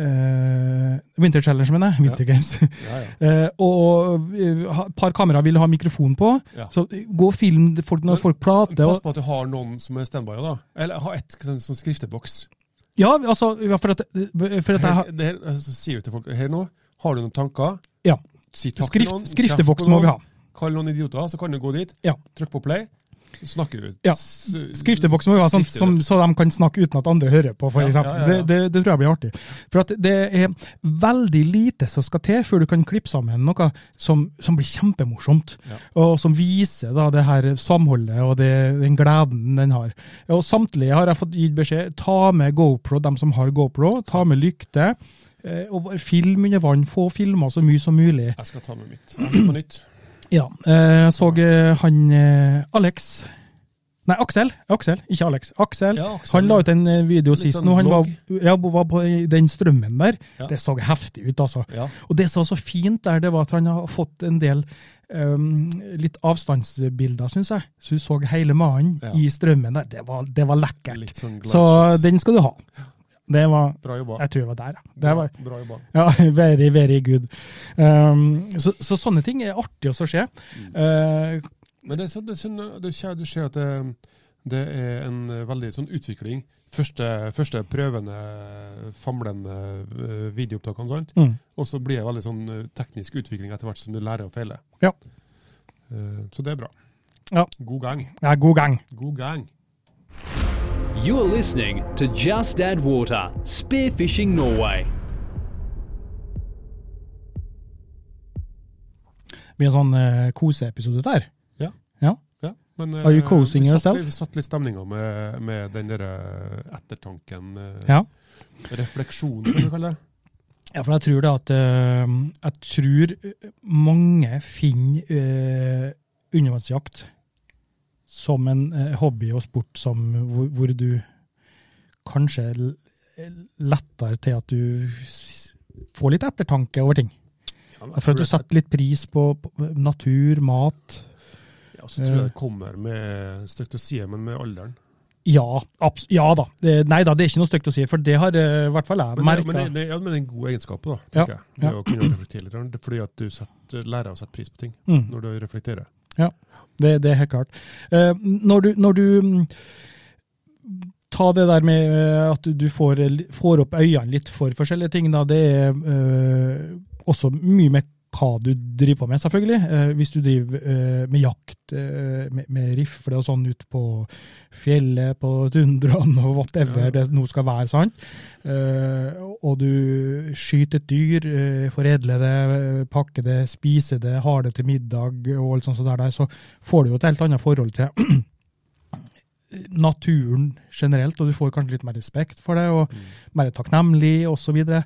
Speaker 1: eh, Winter Challenge, mener jeg. Winter Games.
Speaker 2: Ja, ja.
Speaker 1: Eh, og et par kameraer vil ha mikrofon på.
Speaker 2: Ja.
Speaker 1: Så eh, gå og film det folk, når
Speaker 2: Men-
Speaker 1: folk prater.
Speaker 2: Pass
Speaker 1: Og,
Speaker 2: på at du har noen som er standby, da. Eller ha et sånn, sånn skrifteboks.
Speaker 1: ja, altså, ja, for at, for at jeg har
Speaker 2: Her, det her, altså, sier jo til folk her nå, har du noen tanker,
Speaker 1: Ja.
Speaker 2: si takk til noen.
Speaker 1: Skrift,
Speaker 2: kjeft
Speaker 1: skrifteboks
Speaker 2: på
Speaker 1: må vi
Speaker 2: noen,
Speaker 1: ha.
Speaker 2: Kall noen idioter, så kan du gå dit,
Speaker 1: Ja.
Speaker 2: trykk på play, så snakker vi ut.
Speaker 1: Ja,
Speaker 2: S-
Speaker 1: Skrifteboks må vi ha, sånn,
Speaker 2: skrifter
Speaker 1: som,
Speaker 2: det.
Speaker 1: så de kan snakke uten at andre hører på, for
Speaker 2: Ja,
Speaker 1: eksempel.
Speaker 2: ja, ja, ja.
Speaker 1: Det, det, det tror jeg blir artig. For at det er veldig lite som skal til før du kan klippe sammen noe som, som blir kjempemorsomt,
Speaker 2: Ja.
Speaker 1: og som viser da, det her samholdet og det, den gleden den har. Og samtlige har jeg fått gitt beskjed, ta med GoPro, dem som har GoPro, ta med lykte, eh, og bare film under vann, få filmer så mye som mulig.
Speaker 2: Jeg skal ta med mitt. Jeg skal på nytt.
Speaker 1: Ja, eh, jeg så eh, han eh, Alex Nei, Aksel. Aksel, ikke Alex. Aksel.
Speaker 2: Ja, Aksel.
Speaker 1: Han la ut en eh, video
Speaker 2: Litt
Speaker 1: sist
Speaker 2: sånn
Speaker 1: nå. Han var,
Speaker 2: vlogg.
Speaker 1: ja, var på den strømmen der.
Speaker 2: Ja.
Speaker 1: Det så heftig ut, altså.
Speaker 2: Ja.
Speaker 1: Og det som var så fint der, det var at han har fått en del um, litt avstandsbilder, syns jeg. Så hun så hele mannen
Speaker 2: Ja.
Speaker 1: i strømmen der. Det var, det var lekkert.
Speaker 2: Litt sånn
Speaker 1: Så
Speaker 2: gladshots.
Speaker 1: den skal du ha. Det var
Speaker 2: Bra jobba.
Speaker 1: Jeg tror det var der, ja. Det var,
Speaker 2: Bra jobba.
Speaker 1: ja, [laughs] very, very good. Um, så, så sånne ting er artig også å se.
Speaker 2: Mm.
Speaker 1: Uh,
Speaker 2: Men det er sånn, det er sånn, du, ser, du ser at det, det er en veldig sånn utvikling. Første, første prøvende, famlende eh, videoopptakene, sant?
Speaker 1: mm.
Speaker 2: Og så blir det veldig sånn eh, teknisk utvikling etter hvert som du lærer å feile.
Speaker 1: Ja.
Speaker 2: Eh, Så det er bra.
Speaker 1: Ja.
Speaker 2: God gang.
Speaker 1: Ja, god gang.
Speaker 2: God gang.
Speaker 3: You're listening to Just Add Water Spearfishing Norway.
Speaker 1: Det blir en sånn uh, koseepisode der.
Speaker 2: Ja.
Speaker 1: Ja.
Speaker 2: Ja, men, eh,
Speaker 1: Are you coasting
Speaker 2: vi satt
Speaker 1: yourself?
Speaker 2: litt- Vi satt litt stemninga med, med den derre ettertanken, eh,
Speaker 1: Ja.
Speaker 2: refleksjonen, som du [clears throat] kaller det.
Speaker 1: ja, for jeg tror da at eh, Jeg tror eh, mange finner eh, undervannsjakt som en eh, hobby og sport som, hvor, hvor du kanskje l- eh, lettere til at du s- får litt ettertanke over ting.
Speaker 2: Jeg
Speaker 1: For at du setter litt pris på, på natur, mat.
Speaker 2: Ja, så tror jeg det kommer med stygt å si, men med alderen.
Speaker 1: Ja, abs ja da. Det, nei da, det er ikke noe stygt å si, for det har eh, i hvert fall jeg
Speaker 2: Men, det- men,
Speaker 1: merka.
Speaker 2: det, det, ja, men det er en god egenskap, da,
Speaker 1: Ja,
Speaker 2: tenker jeg. Det
Speaker 1: ja.
Speaker 2: å kunne reflektere litt, grann, det er fordi at du setter, lærer å sette pris på ting
Speaker 1: Mm.
Speaker 2: når du reflekterer.
Speaker 1: Det, det er helt klart. Eh, når du, når du mm, Ta det der med eh, at du får, får opp øynene litt for forskjellige ting, da. Det er eh, også mye med hva du driver på med, selvfølgelig. Eh, hvis du driver eh, med jakt, eh, med, med rifle og sånn ut på fjellet, på tundraen og whatever
Speaker 2: Ja.
Speaker 1: det nå skal være, sant. Eh, og du skyter et dyr, eh, foredler det, eh, pakker det, spiser det, har det til middag og alt sånt, sånt der, der, så får du jo et helt annet forhold til naturen generelt, og du får kanskje litt mer respekt for det, og mer takknemlig, osv. Eh,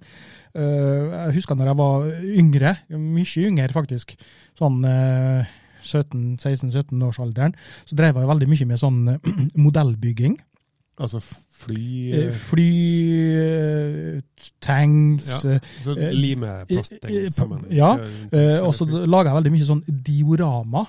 Speaker 1: Jeg husker når jeg var yngre, mye yngre faktisk, sånn 16-17 års alderen, så drev jeg veldig mye med sånn [clears throat] eh, modellbygging.
Speaker 2: Altså f- fly
Speaker 1: Eh,
Speaker 2: eh,
Speaker 1: Fly, eh, tanks,
Speaker 2: Ja.
Speaker 1: eh,
Speaker 2: Så
Speaker 1: eh,
Speaker 2: limeplast
Speaker 1: eh, eh,
Speaker 2: sammen.
Speaker 1: ja,
Speaker 2: Det
Speaker 1: Eh,
Speaker 2: er-
Speaker 1: og så laga jeg veldig mye sånn diorama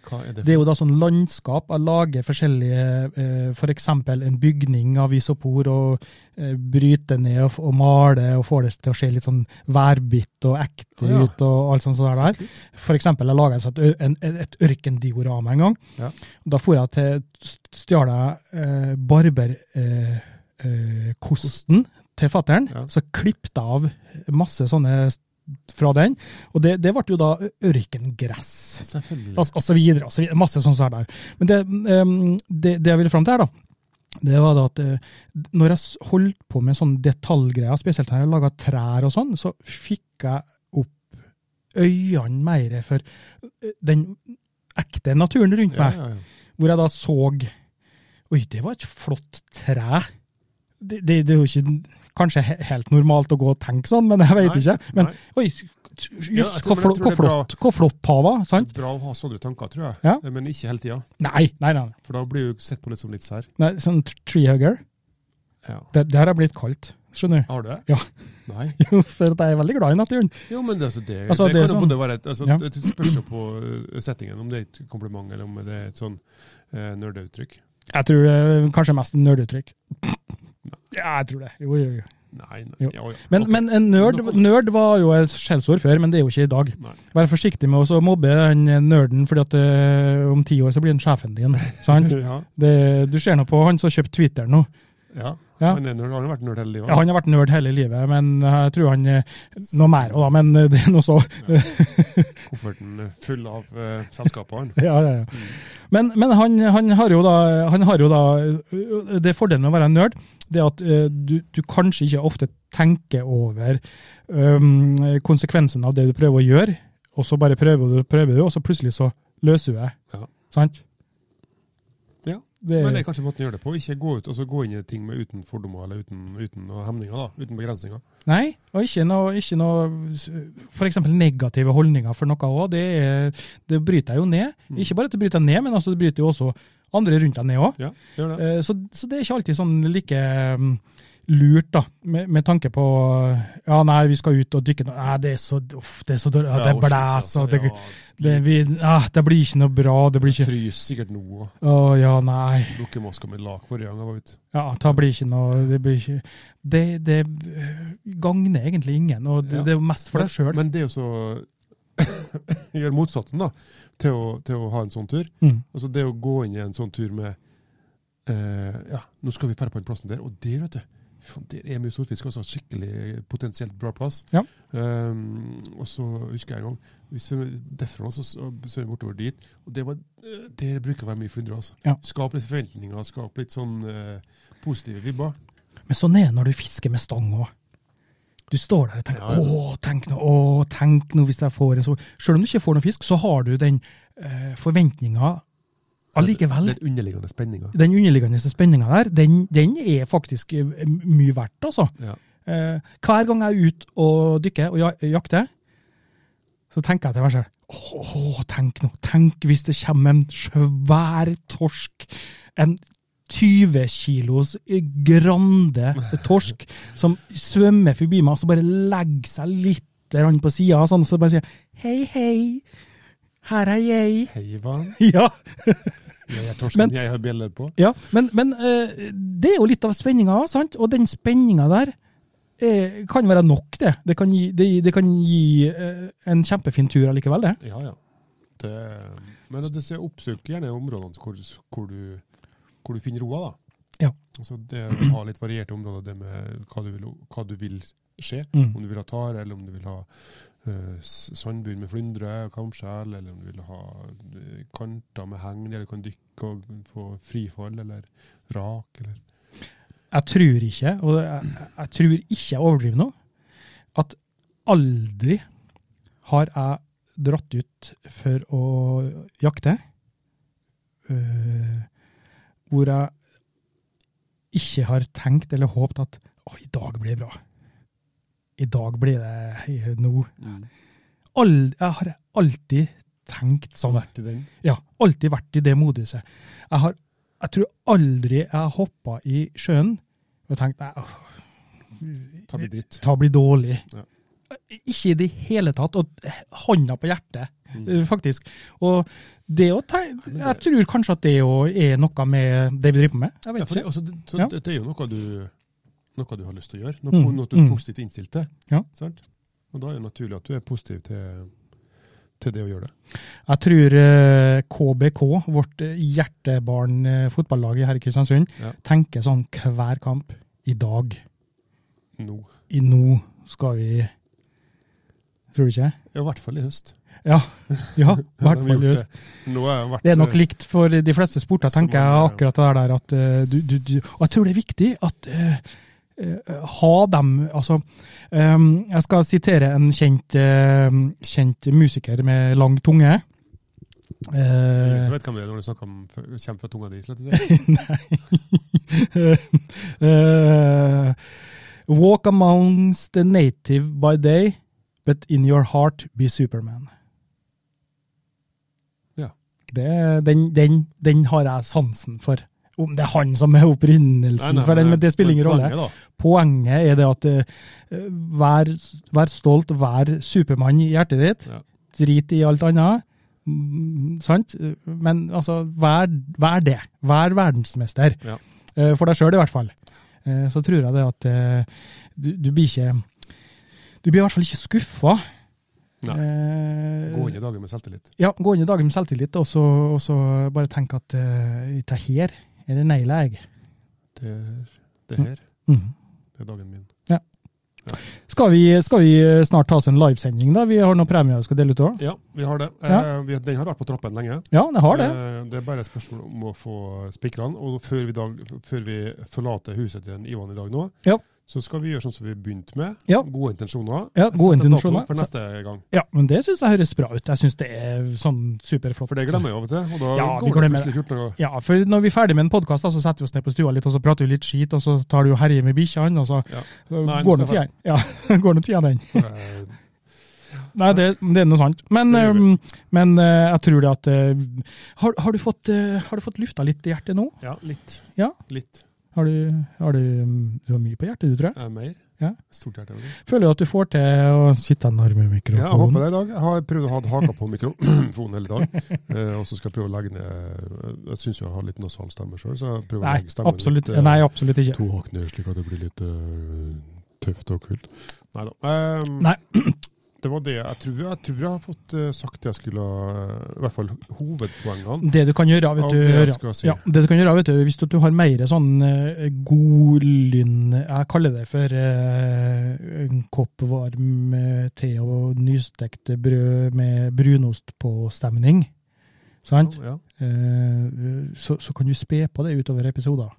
Speaker 2: Hva er det
Speaker 1: Det er jo da sånn landskap. Jeg lager forskjellige eh, F.eks. en bygning av isopor, og eh, bryter ned og, f- og maler og får det til å se litt sånn værbitt og ekte
Speaker 2: Å, ja.
Speaker 1: ut. og alt sånt sånt der.
Speaker 2: kult.
Speaker 1: For eksempel, jeg laget en sånn- en, en, et ørkendiorama en gang.
Speaker 2: Ja.
Speaker 1: Da for jeg til st- stjal jeg eh, barberkosten eh, kosten til fatteren,
Speaker 2: Ja.
Speaker 1: så klippet jeg av masse sånne st- fra den, og det, det ble jo da ørkengress.
Speaker 2: Selvfølgelig.
Speaker 1: Altså, og så videre, og så videre. Masse sånn som er der. Men det, ehm, det, det jeg ville fram til her, da, det var da at eh, når jeg s- holdt på med sånne detaljgreier, spesielt når jeg laga trær og sånn, så fikk jeg opp øynene mer for eh, den ekte naturen rundt
Speaker 2: ja,
Speaker 1: meg,
Speaker 2: ja, ja.
Speaker 1: hvor jeg da så Oi, det var et flott tre. Det, det, det er jo ikke kanskje he- helt normalt å gå og tenke sånn, men jeg veit
Speaker 2: Nei,
Speaker 1: ikke. Men
Speaker 2: nei.
Speaker 1: oi, s- jøss,
Speaker 2: Ja, jeg
Speaker 1: hvor
Speaker 2: tror- men jeg
Speaker 1: flott, hvor
Speaker 2: tror det er bra.
Speaker 1: flott, hvor flott hava, sant?
Speaker 2: Bra å ha sånne tanker, tror jeg.
Speaker 1: Ja.
Speaker 2: Men ikke hele tida.
Speaker 1: Nei, nei, nei.
Speaker 2: For da blir du sett på litt som litt sær.
Speaker 1: Nei, sånn tr- treehugger.
Speaker 2: Ja.
Speaker 1: Det, det her har blitt kaldt, skjønner du. [laughs]
Speaker 2: Har du det?
Speaker 1: Ja.
Speaker 2: Nei.
Speaker 1: Jo, for at jeg er veldig glad i naturen.
Speaker 2: Jo, men det, altså, det,
Speaker 1: Altså,
Speaker 2: det,
Speaker 1: det er
Speaker 2: kan jo
Speaker 1: sånn-
Speaker 2: både være et altså,
Speaker 1: Ja.
Speaker 2: Det spørs jo på ø, settingen om det er et kompliment eller om det er et sånn uh, nerdeuttrykk.
Speaker 1: Jeg tror eh, kanskje mest nerduttrykk. Ja, jeg tror det. Jo, jo, jo.
Speaker 2: Nei, nei.
Speaker 1: Jo.
Speaker 2: Ja, ja.
Speaker 1: Men,
Speaker 2: Ok.
Speaker 1: men en nerd, nerd var jo et skjellsord før, men det er jo ikke i dag.
Speaker 2: Nei.
Speaker 1: Vær forsiktig med å så mobbe den nerden, fordi at eh, om ti år så blir han sjefen din. sant?
Speaker 2: [laughs] Ja,
Speaker 1: Det, du ser nå på han som kjøpte Twitter nå.
Speaker 2: ja.
Speaker 1: Ja.
Speaker 2: Men det er nerd, han har vært nerd hele livet.
Speaker 1: Ja, han har vært nerd hele livet, men jeg tror han eh, Noe mer òg, da, men eh, det er noe så
Speaker 2: Kofferten er full av uh, selskaper, han.
Speaker 1: [laughs] Ja, ja, ja. Men, men han, han, har jo da, han har jo da Det er fordelen med å være en nerd, det er at eh, du, du kanskje ikke ofte tenker over øhm, konsekvensen av det du prøver å gjøre, og så bare prøver du, prøver du, og så plutselig så løser du det.
Speaker 2: Ja.
Speaker 1: Sant?
Speaker 2: Ja.
Speaker 1: Det,
Speaker 2: Men det er kanskje måten å gjøre det på. Ikke gå ut og så gå inn i ting med uten fordommer eller uten, uten noe hemninger. da, Uten begrensninger.
Speaker 1: nei, og ikke noe, ikke noe F.eks. negative holdninger for noe òg. Det, er- det bryter deg jo ned.
Speaker 2: Mm.
Speaker 1: Ikke bare at det bryter deg ned, men altså, det bryter jo også andre rundt deg ned òg.
Speaker 2: Ja, gjør det.
Speaker 1: Eh, Så, så det er ikke alltid sånn like mm, lurt, da, med, med tanke på Ja, nei, vi skal ut og dykke nå. Nei, det er så uff, det er så dårlig. Ja, det
Speaker 2: Ja, altså.
Speaker 1: blæser, og det,
Speaker 2: ja,
Speaker 1: det, vi, ja, det blir ikke noe bra. Det blir ikke
Speaker 2: Frys sikkert nå òg.
Speaker 1: Å ja, nei.
Speaker 2: Dukkemaska med lak forrige gang jeg var ute.
Speaker 1: Ja, det blir ikke noe Det, blir ikke, det, det eh, gagner egentlig ingen, og det,
Speaker 2: Ja.
Speaker 1: det er jo mest for deg sjøl.
Speaker 2: Men det er jo så [laughs] Gjør motsatsen, da. Til å, til å ha en sånn tur.
Speaker 1: Mm.
Speaker 2: Altså Det å gå inn i en sånn tur med eh, Ja, nå skal vi dra på den plassen der, og der, vet du. fy faen, Der er mye storfisk. Altså skikkelig potensielt bra plass.
Speaker 1: Ja.
Speaker 2: Ehm, og så husker jeg en gang vi svømmer derfra og så svømmer vi bortover dit. Og det var, eh, der bruker det å være mye flyndre. Altså.
Speaker 1: Ja.
Speaker 2: Skap litt forventninger, skap litt sånn eh, positive vibber.
Speaker 1: Men sånn er det når du fisker med stang òg. Du står der og tenker
Speaker 2: Ja, ja.
Speaker 1: 'Å, tenk nå, å, tenk nå hvis jeg får en så Selv om du ikke får noen fisk, så har du den eh, forventninga allikevel.
Speaker 2: Den underliggende spenninga.
Speaker 1: Den underliggende spenninga der, den, den er faktisk eh, mye verdt, altså.
Speaker 2: Ja.
Speaker 1: Eh, hver gang jeg er ute og dykker og ja- jakter, så tenker jeg til meg selv Åh, tenk nå. Tenk hvis det kommer en svær torsk. En 20 kilos grande torsk som svømmer forbi meg og så bare legger seg litt grann på sida, sånn, så bare sier Hei, hei. Her er jeg. [laughs]
Speaker 2: Hei, Ivan.
Speaker 1: Ja.
Speaker 2: Jeg er
Speaker 1: Men-
Speaker 2: torsken jeg har bjeller på.
Speaker 1: Ja, men, men eh, det er jo litt av spenninga, sant? Og den spenninga der eh, kan være nok, det. Det kan gi, det, det kan gi eh, en kjempefin tur allikevel, det.
Speaker 2: Ja, ja. Det, men det ser oppsøk gjerne områdene hvor, hvor, du, hvor du finner roa, da.
Speaker 1: Ja.
Speaker 2: Altså det å ha litt varierte områder, det med hva du vil, hva du vil skje.
Speaker 1: Mm.
Speaker 2: Om du vil ha tare, eller om du vil ha eh, s- sandbunn med flyndre og kamskjell, eller om du vil ha eh, kanter med hegn der du kan dykke og få frifall, eller rak, eller
Speaker 1: Jeg tror ikke, og jeg, jeg tror ikke jeg overdriver nå, at aldri har jeg dratt ut for å jakte eh, hvor jeg ikke har tenkt eller håpet at å, i dag blir det bra. I dag blir det nå. Ald- jeg har alltid tenkt sånn.
Speaker 2: Vært i den.
Speaker 1: Ja, alltid vært i det moduset. Jeg, har, jeg tror aldri jeg har hoppa i sjøen og tenkt nei, åh,
Speaker 2: Ta blir dritt.
Speaker 1: det blir dårlig.
Speaker 2: Ja.
Speaker 1: Ikke i det hele tatt. Og hånda på hjertet,
Speaker 2: Mm.
Speaker 1: eh, faktisk. Og det å te Jeg tror kanskje at det òg er noe med det vi driver på med. Jeg
Speaker 2: Ja,
Speaker 1: vet
Speaker 2: for det,
Speaker 1: ikke.
Speaker 2: altså, det, så
Speaker 1: Ja.
Speaker 2: Dette er jo noe du, noe du har lyst til å gjøre, noe,
Speaker 1: Mm,
Speaker 2: noe du er
Speaker 1: mm.
Speaker 2: positivt innstilt til.
Speaker 1: Ja.
Speaker 2: Sant? Og da er det naturlig at du er positiv til, til det å gjøre det.
Speaker 1: Jeg tror eh, KBK, vårt eh, hjertebarn eh, fotballag her i Kristiansund,
Speaker 2: Ja.
Speaker 1: tenker sånn hver kamp. I dag.
Speaker 2: Nå.
Speaker 1: I nå skal vi Tror du ikke?
Speaker 2: Ja, I hvert fall i høst.
Speaker 1: Ja. ja I
Speaker 2: Da
Speaker 1: hvert
Speaker 2: har vi
Speaker 1: fall
Speaker 2: gjort
Speaker 1: i høst.
Speaker 2: det. Nå har jeg vært, eh,
Speaker 1: Det er nok likt for de fleste sporter,
Speaker 2: Så
Speaker 1: tenker jeg
Speaker 2: mange-
Speaker 1: akkurat det der at eh, du, du, du Og jeg tror det er viktig at eh, eh, ha dem Altså, em, jeg skal sitere en kjent, eh, kjent musiker med lang tunge. Eh,
Speaker 2: Jeg vet hvem det er når du snakker om kommer fra tunga di.
Speaker 1: [laughs]
Speaker 2: slett å si.
Speaker 1: Eh, walk amongst the native by day, but in your heart be Superman.
Speaker 2: Ja.
Speaker 1: Det, den, den, den har jeg sansen for. Om det er han som er opprinnelsen for den, men det spiller ingen rolle.
Speaker 2: Poenget,
Speaker 1: Poenget er det at eh, vær, vær stolt, vær Supermann i hjertet ditt.
Speaker 2: da. Ja.
Speaker 1: Drit i alt annet. Mm, sant? Men altså, vær, vær det. Vær verdensmester.
Speaker 2: Ja.
Speaker 1: Eh, For deg sjøl, i hvert fall. Eh, Så tror jeg det at eh, du, du blir ikke Du blir i hvert fall ikke skuffa.
Speaker 2: Nei.
Speaker 1: Eh.
Speaker 2: Gå inn i dagen med selvtillit.
Speaker 1: Ja, gå inn i dagen med selvtillit, og så, og så bare tenk at eh, det her er det negler jeg.
Speaker 2: Det, det her,
Speaker 1: Mm.
Speaker 2: det er dagen min.
Speaker 1: Skal, vi, skal vi snart ta oss en livesending, da? Vi har noen premier vi skal dele ut òg.
Speaker 2: Ja, vi har det.
Speaker 1: Ja.
Speaker 2: Eh, vi, den har vært på trappene lenge.
Speaker 1: Ja, det har det.
Speaker 2: Eh, Det er bare et spørsmål om å få spikrene. Og før vi, dag, før vi forlater huset til en Ivan i dag nå,
Speaker 1: Ja.
Speaker 2: så skal vi gjøre sånn som vi begynte med.
Speaker 1: Ja.
Speaker 2: Gode intensjoner.
Speaker 1: Ja, gode
Speaker 2: Sette dato
Speaker 1: intensjoner.
Speaker 2: For neste gang.
Speaker 1: Ja, men det syns jeg høres bra ut. Jeg syns det er sånn superflott.
Speaker 2: For det glemmer jeg av og til. Og da
Speaker 1: Ja, vi
Speaker 2: går det
Speaker 1: glemmer
Speaker 2: plutselig 14 dager.
Speaker 1: Ja, for når vi er ferdig med en podkast, så setter vi oss ned på stua litt, og så prater vi litt skit, og så tar du og herjer med bikkjene, og så
Speaker 2: Ja.
Speaker 1: så
Speaker 2: Nei, nå
Speaker 1: går
Speaker 2: skal
Speaker 1: nå tida
Speaker 2: jeg
Speaker 1: ja, [laughs] går nå tida den.
Speaker 2: For, eh,
Speaker 1: Nei, det, det er noe sant. Men,
Speaker 2: Det gjør vi.
Speaker 1: eh, men eh, jeg tror det at eh, har, har, du fått, eh, har du fått lufta litt i hjertet nå?
Speaker 2: Ja, litt.
Speaker 1: Ja.
Speaker 2: Litt.
Speaker 1: Har du, har du, ehm, du har mye på hjertet, du, tror jeg.
Speaker 2: Eh, mer.
Speaker 1: Ja.
Speaker 2: Stort hjerte. vel.
Speaker 1: Føler du at du får til å sitte nærme
Speaker 2: Ja, jeg håper
Speaker 1: mikrofonen?
Speaker 2: det i dag. Jeg har prøvd å ha haka på mikrofonen hele
Speaker 1: [laughs]
Speaker 2: dag. Eh, og så skal jeg prøve å legge ned eh, Jeg syns jeg har litt nasal stemme sjøl, så jeg prøver å
Speaker 1: Nei,
Speaker 2: legge stemmen
Speaker 1: absolutt,
Speaker 2: litt, eh,
Speaker 1: nei, absolutt ikke.
Speaker 2: to hakk ned, slik at det blir litt eh, tøft og kult. Nei da. Ehm,
Speaker 1: Nei.
Speaker 2: [clears throat] Det var det jeg tror. Jeg tror jeg har fått eh, sagt det jeg skulle ha- I hvert fall hovedpoengene.
Speaker 1: Det du kan gjøre, vet
Speaker 2: Av
Speaker 1: du,
Speaker 2: det jeg
Speaker 1: Ørjan.
Speaker 2: skal si.
Speaker 1: ja, det du kan gjøre, vet du, hvis du du har mer sånn eh, godlyn Jeg kaller det for eh, en kopp varm eh, te og nystekt brød med brunost på stemning. Sant?
Speaker 2: Ja.
Speaker 1: Eh, så, så kan du spe på det utover episoder.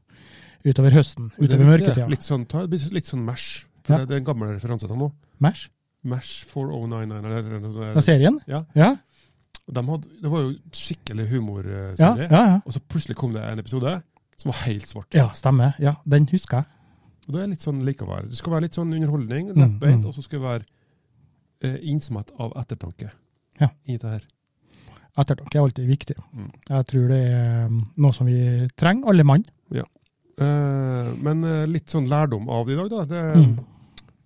Speaker 1: Utover høsten.
Speaker 2: Det er
Speaker 1: Utover
Speaker 2: viktig, det.
Speaker 1: mørketida.
Speaker 2: Litt sånn, ta, litt, litt sånn mash.
Speaker 1: Ja.
Speaker 2: For det, det er en gammel referanse til nå.
Speaker 1: Mash?
Speaker 2: Mash 4099. Eller, eller, eller,
Speaker 1: Ja, serien?
Speaker 2: Ja.
Speaker 1: Ja,
Speaker 2: De hadde, det var jo skikkelig
Speaker 1: ja,
Speaker 2: humorserie.
Speaker 1: ja. ja.
Speaker 2: Og så plutselig kom det en episode som var helt svart.
Speaker 1: ja stemmer. Ja, den husker jeg.
Speaker 2: Og det er litt sånn likevær. Det skal være litt sånn underholdning,
Speaker 1: Mm, mm.
Speaker 2: lettbeint, og så skal det være eh, innsmett av ettertanke.
Speaker 1: Ja.
Speaker 2: I det her.
Speaker 1: Ettertanke er alltid viktig.
Speaker 2: Mm.
Speaker 1: Jeg tror det er um, noe som vi trenger, alle mann.
Speaker 2: Eh, men eh, litt sånn lærdom av det i dag, da. Det,
Speaker 1: Mm.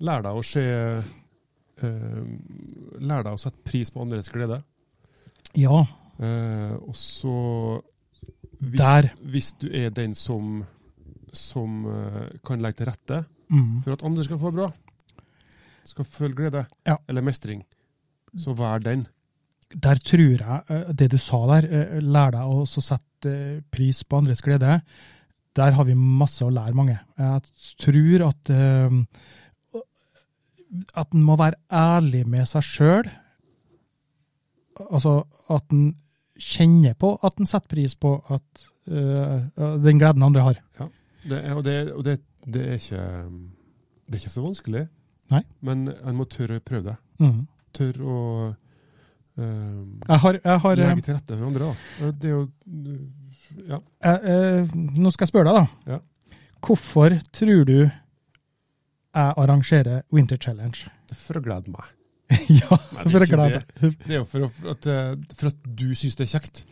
Speaker 2: Lær deg å se eh, Lær deg å sette pris på andres glede.
Speaker 1: Ja.
Speaker 2: Eh, og så hvis,
Speaker 1: Der.
Speaker 2: hvis du er den som, som eh, kan legge til rette
Speaker 1: Mm.
Speaker 2: for at andre skal få det bra, skal føle glede
Speaker 1: Ja.
Speaker 2: eller mestring, så vær den.
Speaker 1: Der tror jeg eh, det du sa der, eh, lær deg å også sette eh, pris på andres glede. Der har vi masse å lære mange. Jeg tror at eh, at en må være ærlig med seg sjøl. Altså at en kjenner på at en setter pris på at eh, den gleden andre har.
Speaker 2: Det er, og det, og det, det, er ikke, det er ikke så vanskelig,
Speaker 1: Nei.
Speaker 2: men en må tørre å prøve det.
Speaker 1: Mm.
Speaker 2: Tørre å eh,
Speaker 1: Jeg har, jeg har eh,
Speaker 2: legge til rette for andre. Da. Det er jo, ja,
Speaker 1: Eh, eh, nå skal jeg spørre deg, da.
Speaker 2: Ja.
Speaker 1: Hvorfor tror du jeg arrangerer Winter Challenge? [laughs]
Speaker 2: det er for å glede meg.
Speaker 1: ja,
Speaker 2: Nei, det er
Speaker 1: for å
Speaker 2: ikke
Speaker 1: glede deg.
Speaker 2: Det er jo for, å- at, eh, for at du syns det er kjekt.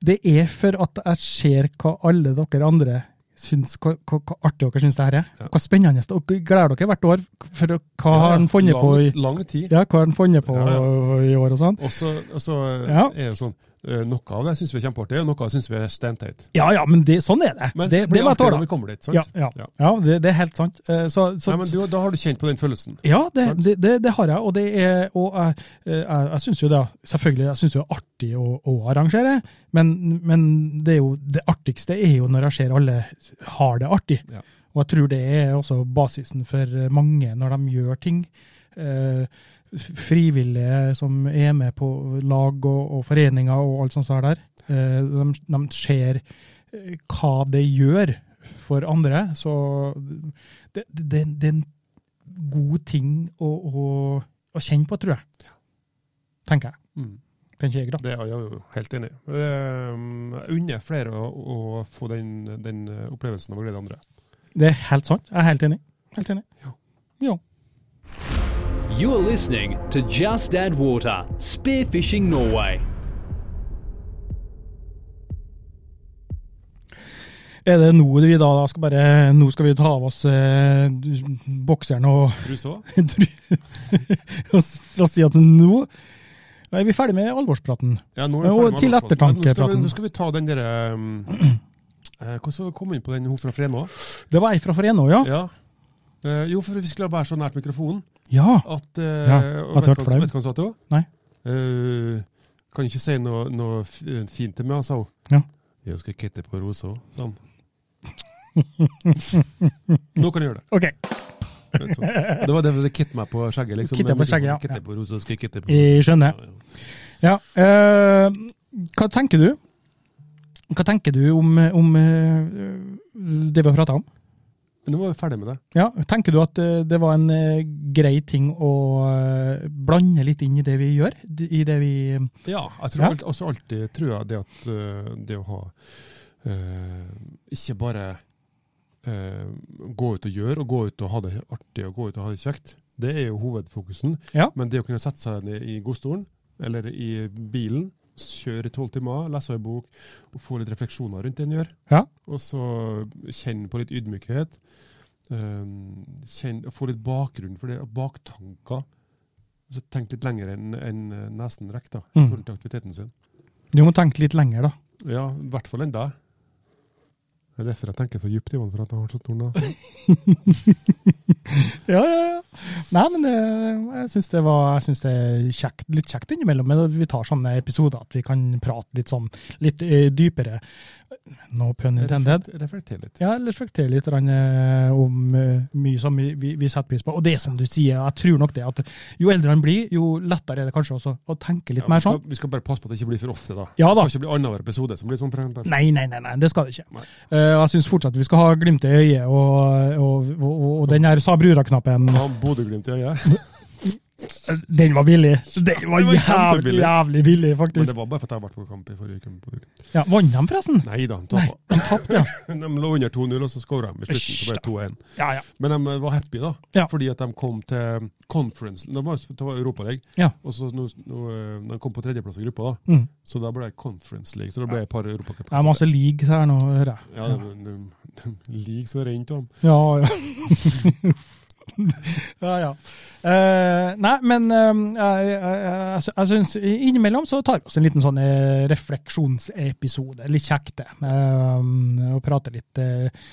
Speaker 1: Det er for at jeg ser hva alle dere andre Syns, hva, hva, hva artig dere syns det her er.
Speaker 2: Ja.
Speaker 1: Hva spennende. det- Og gleder dere hvert år for hva har han funnet på i
Speaker 2: Lang, lang tid.
Speaker 1: ja, hva har han funnet på
Speaker 2: Ja,
Speaker 1: i år og sånn?
Speaker 2: Og så og så, eh,
Speaker 1: Ja.
Speaker 2: er det sånn eh, Noe av det syns vi er kjempeartig, og noe av det syns vi er steinteit.
Speaker 1: Ja ja, men det, sånn er det.
Speaker 2: Men
Speaker 1: det,
Speaker 2: det blir
Speaker 1: var
Speaker 2: artig når
Speaker 1: tåla.
Speaker 2: vi kommer dit. sant?
Speaker 1: Ja, ja,
Speaker 2: Ja.
Speaker 1: ja det, det er helt sant. Eh, Så, så,
Speaker 2: Nei, men du, da har du kjent på den følelsen.
Speaker 1: Ja, det,
Speaker 2: Sant?
Speaker 1: det, det, det har jeg, og det er og jeg, eh, jeg, jeg syns jo det selvfølgelig, jeg synes jo det er artig å, å arrangere, men, men det, er jo, det artigste er jo når jeg ser alle har det artig.
Speaker 2: Ja.
Speaker 1: Og jeg tror det er også basisen for mange når de gjør ting. Eh, f- frivillige som er med på lag og, og foreninger og alt sånt som er der. Eh, de, de ser eh, hva det gjør for andre, så det, det, det er en god ting å, å, å kjenne på, tror jeg. Tenker jeg.
Speaker 2: Mm.
Speaker 1: Tenker jeg, da.
Speaker 2: Det er jeg jo helt enig i. Det, um, Jeg unner flere å, å få den, den opplevelsen av å glede andre.
Speaker 1: Det er helt sant. Jeg er helt enig. Helt enig. Ja.
Speaker 3: You're listening to Just Add Water Spearfishing Norway.
Speaker 1: Er det nå vi da, da skal bare Nå skal vi ta av oss eh, bokseren og, [laughs]
Speaker 2: Truse òg?
Speaker 1: og, s- og si at nå er vi ferdig med alvorspraten.
Speaker 2: Ja, nå
Speaker 1: Ja,
Speaker 2: er vi
Speaker 1: og
Speaker 2: ferdig med
Speaker 1: til
Speaker 2: alvorspraten. Men nå skal
Speaker 1: ettertankepraten.
Speaker 2: vi- Nå skal vi ta den derre um, eh, Hvordan kom vi inn på den hun fra Frenå?
Speaker 1: Det var ei fra Forenå, ja.
Speaker 2: Ja. Eh, jo, for vi skulle være så nært mikrofonen
Speaker 1: Ja.
Speaker 2: at uh,
Speaker 1: Ja, at du
Speaker 2: Vet du
Speaker 1: ble
Speaker 2: hva
Speaker 1: flau.
Speaker 2: vet du hva hun sa til henne?
Speaker 1: Nei.
Speaker 2: Eh, kan ikke si noe, noe f- eh, fint til meg, sa hun.
Speaker 1: Ja.
Speaker 2: Jeg skal kutte på rosa òg, sa
Speaker 1: [laughs]
Speaker 2: han. Nå kan du gjøre det.
Speaker 1: OK.
Speaker 2: Litt sånn. Det var det for å kitte meg på skjegget. liksom.
Speaker 1: Kitte på skjegget, ja.
Speaker 2: Kitte på rosa, skal kitte på
Speaker 1: Jeg
Speaker 2: rosa.
Speaker 1: skjønner. Ja, eh, hva tenker du? Hva tenker du om, om eh, det vi har prata om?
Speaker 2: Men nå var vi ferdig med det.
Speaker 1: Ja, Tenker du at eh, det var en eh, grei ting å eh, blande litt inn i det vi gjør? d- I det vi
Speaker 2: Ja, jeg tror
Speaker 1: Ja.
Speaker 2: alt- også alltid tror jeg det at øh, det å ha øh, Ikke bare øh, gå ut og gjøre, og gå ut og ha det artig og gå ut og ha det kjekt. Det er jo hovedfokusen.
Speaker 1: Ja.
Speaker 2: Men det å kunne sette seg ned i godstolen, eller i bilen, kjøre i tolv timer, lese ei bok, og få litt refleksjoner rundt det en gjør,
Speaker 1: Ja.
Speaker 2: og så kjenne på litt ydmykhet, øhm, kjenne, og få litt bakgrunn for det, og baktanker. Så tenk litt lenger enn enn nesen rekker, da, i
Speaker 1: Mm.
Speaker 2: forhold til aktiviteten sin.
Speaker 1: Du må tenke litt lenger, da.
Speaker 2: Ja, i hvert fall enn deg. Det er derfor jeg tenker så djupt, Ivan, for at jeg har så stor nese.
Speaker 1: Ja, ja, ja. Nei, men det, jeg syns det var jeg synes det er kjekt, litt kjekt innimellom. Men vi tar sånne episoder at vi kan prate litt sånn, litt eh, dypere. No pun [laughs] intended.
Speaker 2: Reflekter- Reflekter litt.
Speaker 1: Ja, reflektere litt grann, eh, om eh, mye som vi, vi, vi setter pris på. Og det er som du sier, jeg tror nok det at jo eldre han blir, jo lettere er det kanskje også å tenke litt
Speaker 2: Ja, vi,
Speaker 1: mer sånn.
Speaker 2: skal, vi skal bare passe på at det ikke blir for ofte, da.
Speaker 1: Ja da.
Speaker 2: Det skal ikke bli annenhver episode som blir sånn. for eksempel.
Speaker 1: Nei, nei, nei, nei, det skal det ikke.
Speaker 2: Nei.
Speaker 1: Eh, jeg syns fortsatt vi skal ha glimt i øyet og, og, og, og den her sa brura-knappen.
Speaker 2: Ha Bodø-glimt i øyet.
Speaker 1: [laughs] Den var billig. Den var
Speaker 2: Den var
Speaker 1: jævlig,
Speaker 2: kjempebillig.
Speaker 1: jævlig billig,
Speaker 2: Men det
Speaker 1: faktisk.
Speaker 2: var bare for at jeg har vært på kamp i forrige uke. med Bodø-Glimt.
Speaker 1: Ja, Vant de, forresten?
Speaker 2: Nei da, de
Speaker 1: Nei,
Speaker 2: tapte.
Speaker 1: de
Speaker 2: [laughs]
Speaker 1: tapte, ja.
Speaker 2: De lå under 2-0, og så skåra de i slutten. Så ble det 2-1.
Speaker 1: Ja, ja.
Speaker 2: Men de eh, var happy, da.
Speaker 1: Ja.
Speaker 2: Fordi at de kom til eh, conference. De var, det var Europaligaen.
Speaker 1: Ja.
Speaker 2: Og så nå, nå, eh, de kom på tredjeplass i gruppa, da.
Speaker 1: Mm.
Speaker 2: Så da ble det conference league. Så det ble et par
Speaker 1: Det er
Speaker 2: europacuper.
Speaker 1: masse leagues her nå, hører jeg.
Speaker 2: Ja, de, de, de, ligger så rent om.
Speaker 1: Ja, [laughs] ja. ja, ja. Eh, nei, men eh, jeg, jeg, jeg, jeg syns innimellom så tar vi oss en liten sånn eh, refleksjonsepisode. Litt kjekt, det. Eh, og prater litt uh,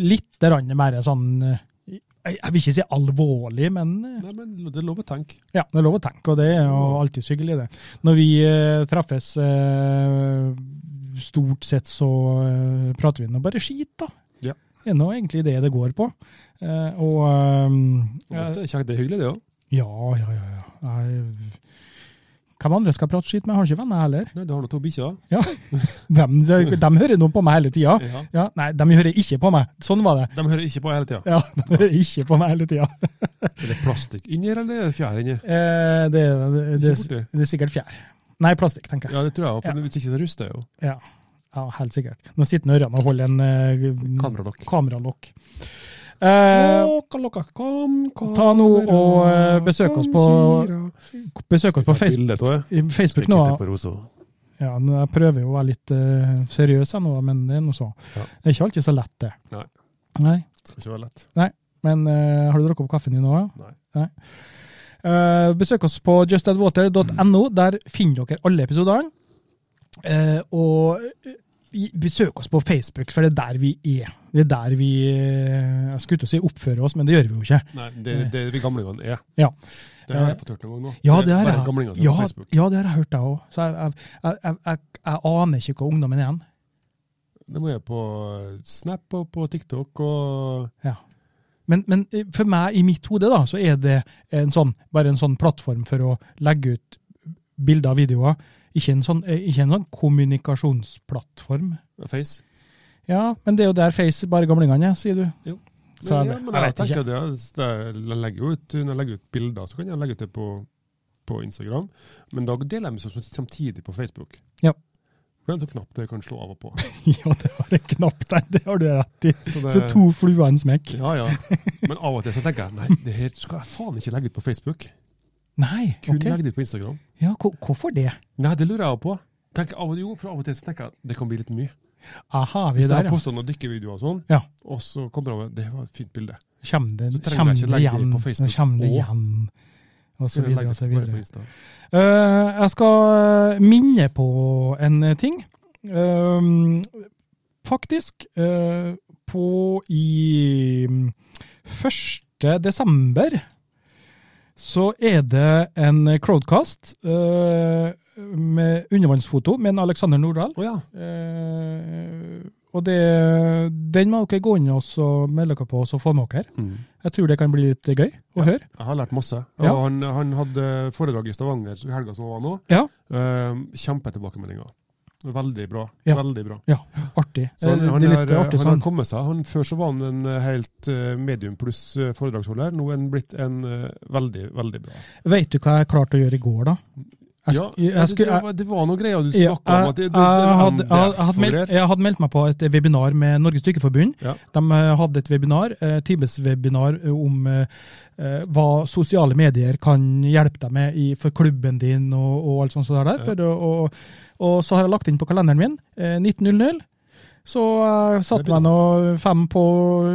Speaker 1: Litt grann mer sånn eh, jeg, jeg vil ikke si alvorlig, men eh,
Speaker 2: Nei, men det er lov å tenke.
Speaker 1: ja, det er lov å tenke, og det er jo alltid hyggelig, det. Når vi eh, treffes, eh, stort sett så eh, prater vi nå bare skit, da.
Speaker 2: Ja.
Speaker 1: Det er nå egentlig det det går på. Eh, og ehm,
Speaker 2: Og Det er kjekt, det er hyggelig, det òg.
Speaker 1: ja, ja, ja. ja. Jeg, hvem andre skal prate skit med? Jeg har ikke venner heller.
Speaker 2: Nei, Du har nå to bikkjer.
Speaker 1: Dem, de, hører nå på meg hele tida.
Speaker 2: Ja.
Speaker 1: Ja, nei, de hører ikke på meg. Sånn var det.
Speaker 2: De hører ikke på hele tida.
Speaker 1: Ja, [laughs] de hører ikke på meg hele tida.
Speaker 2: Er det plastikk inni her, eller er det fjær inni?
Speaker 1: Eh, det, det, det,
Speaker 2: Ikke borti.
Speaker 1: det er sikkert fjær. Nei, plastikk, tenker jeg.
Speaker 2: Ja, det tror jeg òg, for
Speaker 1: Ja.
Speaker 2: hvis ikke det ruster jo.
Speaker 1: Ja, ja helt sikkert. Nå sitter Ørjan og holder en eh,
Speaker 2: Kameralokk.
Speaker 1: kameralokk. Eh,
Speaker 2: Lokka, lokka, kom, kom,
Speaker 1: ta nå
Speaker 2: kamera,
Speaker 1: og, eh, besøk oss
Speaker 2: kom,
Speaker 1: på-
Speaker 2: Sira.
Speaker 1: besøk oss på
Speaker 2: Ta et
Speaker 1: Facebook,
Speaker 2: bilde av det.
Speaker 1: Facebook nå.
Speaker 2: Kitte på rosa.
Speaker 1: Ja, men jeg prøver jo å være litt eh, seriøs her nå, men det er noe så.
Speaker 2: Ja.
Speaker 1: Det er ikke alltid så lett, det.
Speaker 2: Nei.
Speaker 1: Nei.
Speaker 2: Skal ikke være lett.
Speaker 1: Men eh, har du drukket opp kaffen din nå?
Speaker 2: Nei.
Speaker 1: Eh, besøk oss på justadwater.no. Der finner dere alle episodene. Eh, og eh, i- besøk oss på Facebook, for det er der vi er. Det er der vi eh, Jeg skulle til å si oppfører oss, men det gjør vi jo ikke.
Speaker 2: Nei, det, det er vi gamlingene er.
Speaker 1: Eh. Ja. Eh,
Speaker 2: Det har jeg fått hørt noen gang nå.
Speaker 1: Ja, det har
Speaker 2: er bare
Speaker 1: jeg,
Speaker 2: gamlingene som
Speaker 1: ja,
Speaker 2: er på Facebook.
Speaker 1: ja, det har jeg hørt, jeg òg. Så jeg, jeg, jeg, jeg, jeg, jeg aner ikke hva ungdommen er igjen.
Speaker 2: Det må jeg på Snap og på TikTok og
Speaker 1: Men, men eh, for meg, i mitt hode, da, så er det en sånn, bare en sånn plattform for å legge ut bilder og videoer. Ikke en sånn, eh, ikke en sånn kommunikasjonsplattform.
Speaker 2: Face.
Speaker 1: Ja, men det er jo der Face bare gamlingene er, sier du.
Speaker 2: Jo.
Speaker 1: Så jeg,
Speaker 2: ja, men
Speaker 1: jeg
Speaker 2: jeg,
Speaker 1: vet ikke.
Speaker 2: tenker det, det, jeg legger jo ut, Når jeg legger ut bilder, så kan jeg legge ut det på, på Instagram. Men da deler jeg meg som- samtidig på Facebook.
Speaker 1: Ja.
Speaker 2: Det er en sånn knapp det jeg kan slå av og på.
Speaker 1: [laughs] Ja, det var en knapp der, det har du rett i.
Speaker 2: Så, det,
Speaker 1: [laughs] Så to fluer i en smekk.
Speaker 2: Ja, ja. Men av og til så tenker jeg nei, det her skal jeg faen ikke legge ut på Facebook.
Speaker 1: Nei,
Speaker 2: Kun
Speaker 1: ok.
Speaker 2: legge det ut på Instagram.
Speaker 1: Ja, hvor- hvorfor det?
Speaker 2: Nei, det lurer jeg på. Tenk, av og, jo, for av og til så tenker jeg at det kan bli litt mye.
Speaker 1: Aha, vi er
Speaker 2: Hvis jeg
Speaker 1: der,
Speaker 2: har
Speaker 1: ja.
Speaker 2: posta noen dykkevideoer og sånn,
Speaker 1: Ja.
Speaker 2: og så kommer det over Det var et fint bilde.
Speaker 1: Kjem det,
Speaker 2: Så trenger
Speaker 1: kjem
Speaker 2: jeg ikke
Speaker 1: det
Speaker 2: legge det
Speaker 1: igjen,
Speaker 2: på Facebook
Speaker 1: nå kjem det
Speaker 2: og-
Speaker 1: igjen, og så
Speaker 2: Jeg legger
Speaker 1: videre, og så
Speaker 2: det bare på
Speaker 1: videre.
Speaker 2: Insta.
Speaker 1: Eh, jeg skal eh, minne på en ting. Eh, faktisk, eh, på i 1. desember så er det en crowdcast eh, med undervannsfoto med en Alexander Nordahl.
Speaker 2: Å ja.
Speaker 1: Eh, og det, den må dere gå inn og så melde dere på og så få med dere. Jeg tror det kan bli litt gøy å høre.
Speaker 2: Jeg har lært masse. Og
Speaker 1: Ja.
Speaker 2: han, han hadde foredrag i Stavanger i helga som var nå.
Speaker 1: Ja.
Speaker 2: Eh, Kjempetilbakemeldinger. Veldig bra.
Speaker 1: Ja.
Speaker 2: Veldig bra.
Speaker 1: Artig.
Speaker 2: Så han,
Speaker 1: Eh,
Speaker 2: han,
Speaker 1: det er
Speaker 2: er,
Speaker 1: litt artig
Speaker 2: han har
Speaker 1: sånn.
Speaker 2: kommet seg. Han, før så var han en eh, helt eh, medium pluss eh, foredragsholder. Nå er han blitt en eh, veldig, veldig bra.
Speaker 1: Vet du hva jeg klarte å gjøre i går, da? Jeg,
Speaker 2: Ja,
Speaker 1: sk- jeg,
Speaker 2: det,
Speaker 1: skulle,
Speaker 2: det,
Speaker 1: jeg,
Speaker 2: var, det var noen greier du
Speaker 1: jeg, jeg,
Speaker 2: snakka om. At det, du,
Speaker 1: hadde, jeg, hadde meldt, jeg hadde meldt meg på et webinar med Norges Dykkerforbund.
Speaker 2: Ja.
Speaker 1: De eh, hadde et webinar, eh, Tibes-webinar, eh, om eh, eh, hva sosiale medier kan hjelpe deg med i, for klubben din og, og alt sånt. sånt der,
Speaker 2: Ja.
Speaker 1: for, å- og, og så har jeg lagt inn på kalenderen min eh, 19.00. Så jeg satte meg nå fem på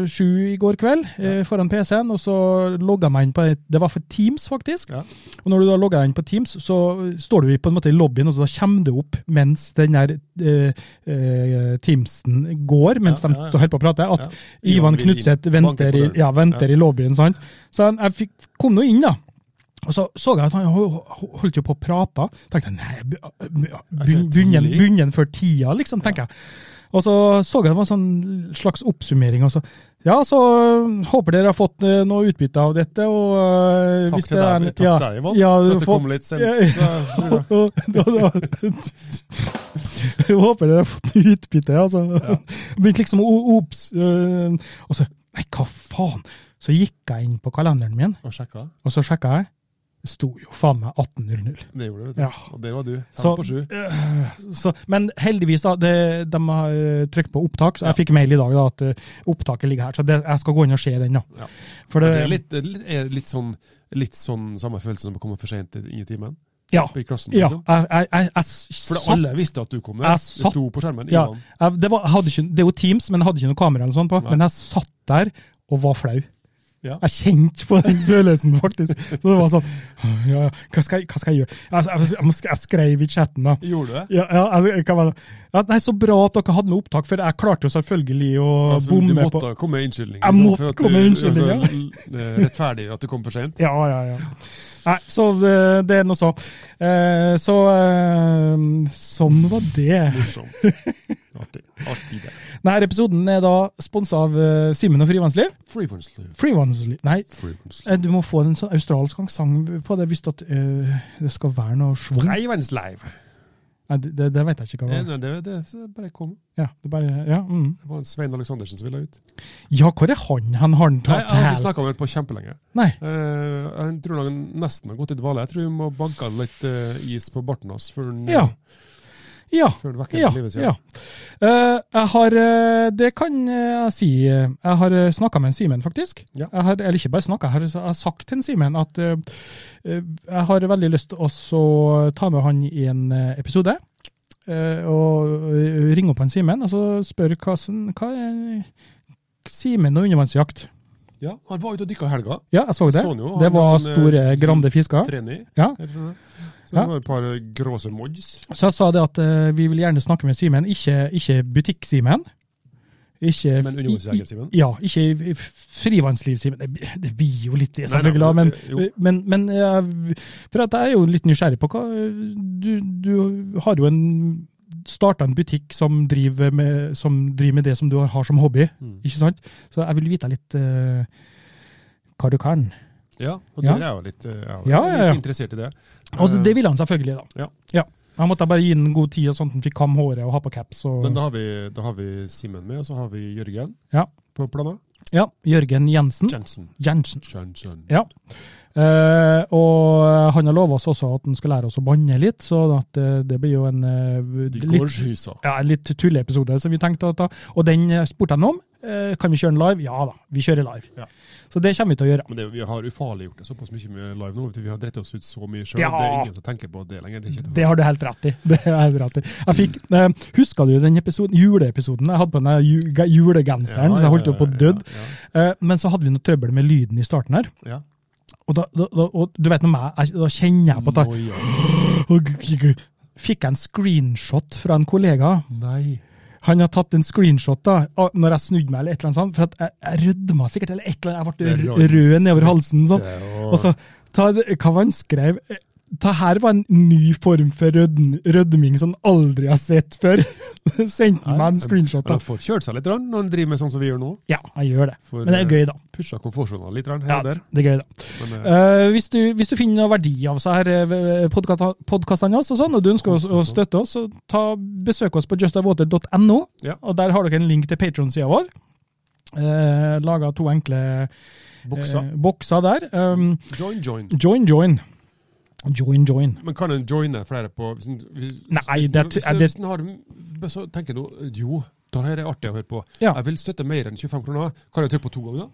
Speaker 1: sju i går kveld eh, foran PC-en, og så logga jeg meg inn på et, Det var for Teams, faktisk.
Speaker 2: Ja.
Speaker 1: Og når du da logger deg inn på Teams, så står du i- på en måte i lobbyen, og da kommer du opp mens den der eh, eh, Teamsen går, mens
Speaker 2: Ja,
Speaker 1: de
Speaker 2: ja, ja.
Speaker 1: holder på å prate, at
Speaker 2: Ja.
Speaker 1: Ivan
Speaker 2: Ivan vil inn.
Speaker 1: Knutseth
Speaker 2: Banker
Speaker 1: venter,
Speaker 2: på
Speaker 1: i,
Speaker 2: døren.
Speaker 1: ja, venter i
Speaker 2: Ja.
Speaker 1: lobbyen. sant? Så jeg, jeg fikk, kom nå inn, da. Og så så jeg at han ho- ho- holdt jo på å prate. tenkte jeg, nei, be- be-
Speaker 2: Altså,
Speaker 1: begynner
Speaker 2: tidlig.
Speaker 1: begynner den før tida, liksom, tenker jeg. Og så så jeg det var en sånn slags oppsummering. og så, Ja, så øh, håper dere har fått øh, noe utbytte av dette. og øh,
Speaker 2: Takk
Speaker 1: hvis
Speaker 2: til
Speaker 1: det er-
Speaker 2: deg, takk
Speaker 1: ja,
Speaker 2: til deg, Ivan,
Speaker 1: ja,
Speaker 2: for at
Speaker 1: du
Speaker 2: du
Speaker 1: får-
Speaker 2: kom litt sent.
Speaker 1: Ja, [laughs]
Speaker 2: Så, [laughs] ja.
Speaker 1: og- da- da- Jeg håper dere har fått utbytte. Altså. [laughs] Begynte liksom å ops, øh, Og så Nei, hva faen? Så gikk jeg inn på kalenderen min,
Speaker 2: Og sjekka.
Speaker 1: og så sjekka jeg. Det sto jo faen meg 18.00.
Speaker 2: Det gjorde du, vet du.
Speaker 1: Ja.
Speaker 2: Og der var du. Fem
Speaker 1: Så-
Speaker 2: på sju.
Speaker 1: Så, men heldigvis, da, det, de har eh, trykt på opptak, så jeg fikk mail i dag da, at eh, opptaket ligger her. Så det, jeg skal gå inn og se den, da.
Speaker 2: Ja.
Speaker 1: For
Speaker 2: Det
Speaker 1: det,
Speaker 2: er litt, det er litt, sånn, litt sånn samme følelse som å komme for sent inn i timen.
Speaker 1: ja,
Speaker 2: I klassen,
Speaker 1: ja,
Speaker 2: liksom.
Speaker 1: jeg, jeg, jeg, jeg s-
Speaker 2: For
Speaker 1: satt
Speaker 2: alle visste at du kom der.
Speaker 1: Jeg
Speaker 2: Det sto på skjermen.
Speaker 1: ja,
Speaker 2: Ivan.
Speaker 1: jeg, det, var, jeg hadde ikke, det er jo Teams, men jeg hadde ikke noe kamera eller sånt på.
Speaker 2: Nei.
Speaker 1: Men jeg satt der og var flau.
Speaker 2: Ja.
Speaker 1: Jeg kjente på den følelsen, faktisk. Så det var sånn ja, ja, hva, skal jeg, hva skal jeg gjøre? Jeg, jeg, jeg, jeg skrev i chatten, da.
Speaker 2: Gjorde du det?
Speaker 1: Ja, ja, altså, jeg kan være, ja, nei, så bra at dere hadde med opptak, for jeg klarte jo selvfølgelig å
Speaker 2: Altså, du
Speaker 1: bomme på
Speaker 2: måtte komme med unnskyldning. liksom,
Speaker 1: Jeg måtte komme med unnskyldning,
Speaker 2: [laughs] ja. altså, Rettferdig at du kom for sent.
Speaker 1: Ja, ja, ja. Nei, så det, det er noe så. Eh, så eh, sånn var det. [laughs]
Speaker 2: Morsomt. Artig. Artig det.
Speaker 1: Denne episoden er da sponsa av eh, Simen og Frivannsliv.
Speaker 2: Freevannsliv.
Speaker 1: Frivannsliv Nei,
Speaker 2: Freevannsliv.
Speaker 1: eh, du må få en sånn australsk aksent på det, hvis at eh, det skal være noe schwung.
Speaker 2: Freevannsliv.
Speaker 1: Nei, det, det- det vet jeg ikke hva
Speaker 2: Det,
Speaker 1: var.
Speaker 2: det, Eh, det, det, så bare kom.
Speaker 1: Ja, det er bare, ja, mm.
Speaker 2: Det var en Svein Aleksandersen som ville ut.
Speaker 1: ja, hvor er han? Han har den
Speaker 2: Nei, jeg har ikke
Speaker 1: tatt helt.
Speaker 2: snakka med ham på kjempelenge.
Speaker 1: Nei.
Speaker 2: Eh, jeg tror han nesten har gått i dvale. Jeg tror vi må banke han litt eh, is på barten hans før han
Speaker 1: Ja. Ja.
Speaker 2: før han vekker
Speaker 1: Ja.
Speaker 2: til livet
Speaker 1: ja. Eh, jeg har eh, Det kan eh, jeg si. eh, Jeg har snakka med en Simen, faktisk.
Speaker 2: Ja.
Speaker 1: Jeg har, eller ikke bare snakka, jeg har- jeg har sagt til en Simen at eh, eh, jeg har veldig lyst til å så ta med han i en eh, episode. eh, og eh, ringer opp han Simen og så spør hva, som- hva er Simen og undervannsjakt.
Speaker 2: Ja, han var ute og dykka i helga.
Speaker 1: Ja, jeg så det.
Speaker 2: Sånn jo, han
Speaker 1: det var
Speaker 2: var en,
Speaker 1: store,
Speaker 2: eh,
Speaker 1: grande fisker.
Speaker 2: Treni.
Speaker 1: Ja.
Speaker 2: jeg tror det. Så
Speaker 1: Ja.
Speaker 2: det var et par gråse mods.
Speaker 1: Så jeg sa det at eh, vi vil gjerne snakke med Simen, ikke, ikke butikk-Simen. Ikke,
Speaker 2: Men undervannsjeger, Simen?
Speaker 1: Ja, ikke frivannsliv-Simen. Det, blir- det blir jo litt det,
Speaker 2: Nei, nei,
Speaker 1: selvfølgelig, men,
Speaker 2: men, jo.
Speaker 1: men, men jeg- For at jeg er jo litt nysgjerrig på hva Du, du har jo en starta en butikk som driver, med, som driver med det som du har, har som hobby,
Speaker 2: Mm.
Speaker 1: ikke sant? Så jeg vil vite litt eh, hva du kan.
Speaker 2: Ja, og
Speaker 1: Ja.
Speaker 2: der er jeg jo litt, eh, jeg er jo
Speaker 1: Ja, ja, ja.
Speaker 2: litt interessert i det.
Speaker 1: Og det,
Speaker 2: Eh,
Speaker 1: det ville han selvfølgelig, da.
Speaker 2: Ja.
Speaker 1: Han måtte bare gi den god tid, og sånn at han fikk kam håret og ha på caps. Og,
Speaker 2: Eh, Men da har vi, da har vi Simen med, og så har vi Jørgen
Speaker 1: Ja.
Speaker 2: på plana.
Speaker 1: ja, Jørgen Jensen.
Speaker 2: Jensen.
Speaker 1: Jensen.
Speaker 2: Jensen.
Speaker 1: Ja. Eh, og han har lova oss også at han skal lære oss å banne litt, så at, eh, det blir jo en eh,
Speaker 2: De
Speaker 1: litt,
Speaker 2: gårdshusa.
Speaker 1: ja, en litt tulleepisode som vi tenkte å ta. Og den eh, spurte han om. Eh, kan vi kjøre den live? Ja da, vi kjører live.
Speaker 2: Ja.
Speaker 1: Så det kommer vi til å gjøre.
Speaker 2: Men det, vi har ufarliggjort det såpass mye med live nå. vet du, Vi har dritt oss ut så mye sjøl.
Speaker 1: Ja.
Speaker 2: Det er ingen som tenker på det lenger. Det er ikke
Speaker 1: Det har du helt rett i. [laughs] Det har jeg helt rett i. Jeg fikk, eh, husker du den episoden, juleepisoden? Jeg hadde på den ju- ga- julegenseren, så jeg holdt jo på å dø.
Speaker 2: Ja,
Speaker 1: Eh, Men så hadde vi noe trøbbel med lyden i starten her.
Speaker 2: ja, ja.
Speaker 1: Og, da, da, da, og du vet nå meg, jeg, da kjenner jeg på at
Speaker 2: Nå, ja.
Speaker 1: jeg Fikk jeg en screenshot fra en kollega.
Speaker 2: Nei.
Speaker 1: Han har tatt en screenshot da, av- når jeg snudde meg, eller et eller annet sånt, for at jeg, jeg rødma sikkert, eller et eller annet, jeg ble rød,
Speaker 2: Det
Speaker 1: rød nedover
Speaker 2: rødmer.
Speaker 1: halsen. sånn.
Speaker 2: Det
Speaker 1: Og så, ta, hva var han skrev? Det her var en ny form for rødm, rødming som han aldri har sett før. [laughs] Sendte han meg en screenshot.
Speaker 2: Men
Speaker 1: da.
Speaker 2: han får kjørt seg litt grann når han driver med sånn som vi gjør nå.
Speaker 1: Ja, jeg gjør det.
Speaker 2: For,
Speaker 1: Men det er gøy, da.
Speaker 2: Pusha komfortsona litt grann her
Speaker 1: Ja,
Speaker 2: og der.
Speaker 1: det er gøy da.
Speaker 2: Men, eh,
Speaker 1: Eh, hvis, du, hvis du finner noe verdi av så her eh, podkata- podkastene oss, og sånn, og du ønsker å, å støtte oss, så ta, besøk oss på justawater.no.
Speaker 2: Ja.
Speaker 1: og Der har dere en link til Patron-sida vår. Uh, Laga to enkle eh,
Speaker 2: boksa.
Speaker 1: bokser der. Um,
Speaker 2: Join, join.
Speaker 1: join, join. Join, join.
Speaker 2: Men kan en joine flere på hvis, en- hvis,
Speaker 1: Nei,
Speaker 2: hvis,
Speaker 1: det er
Speaker 2: hvis,
Speaker 1: ty- er det-
Speaker 2: hvis en har, Så tenker du jo, da her er det artig å høre på.
Speaker 1: Ja.
Speaker 2: Jeg vil støtte mer enn 25 kroner. Kan jeg trykke på to ganger?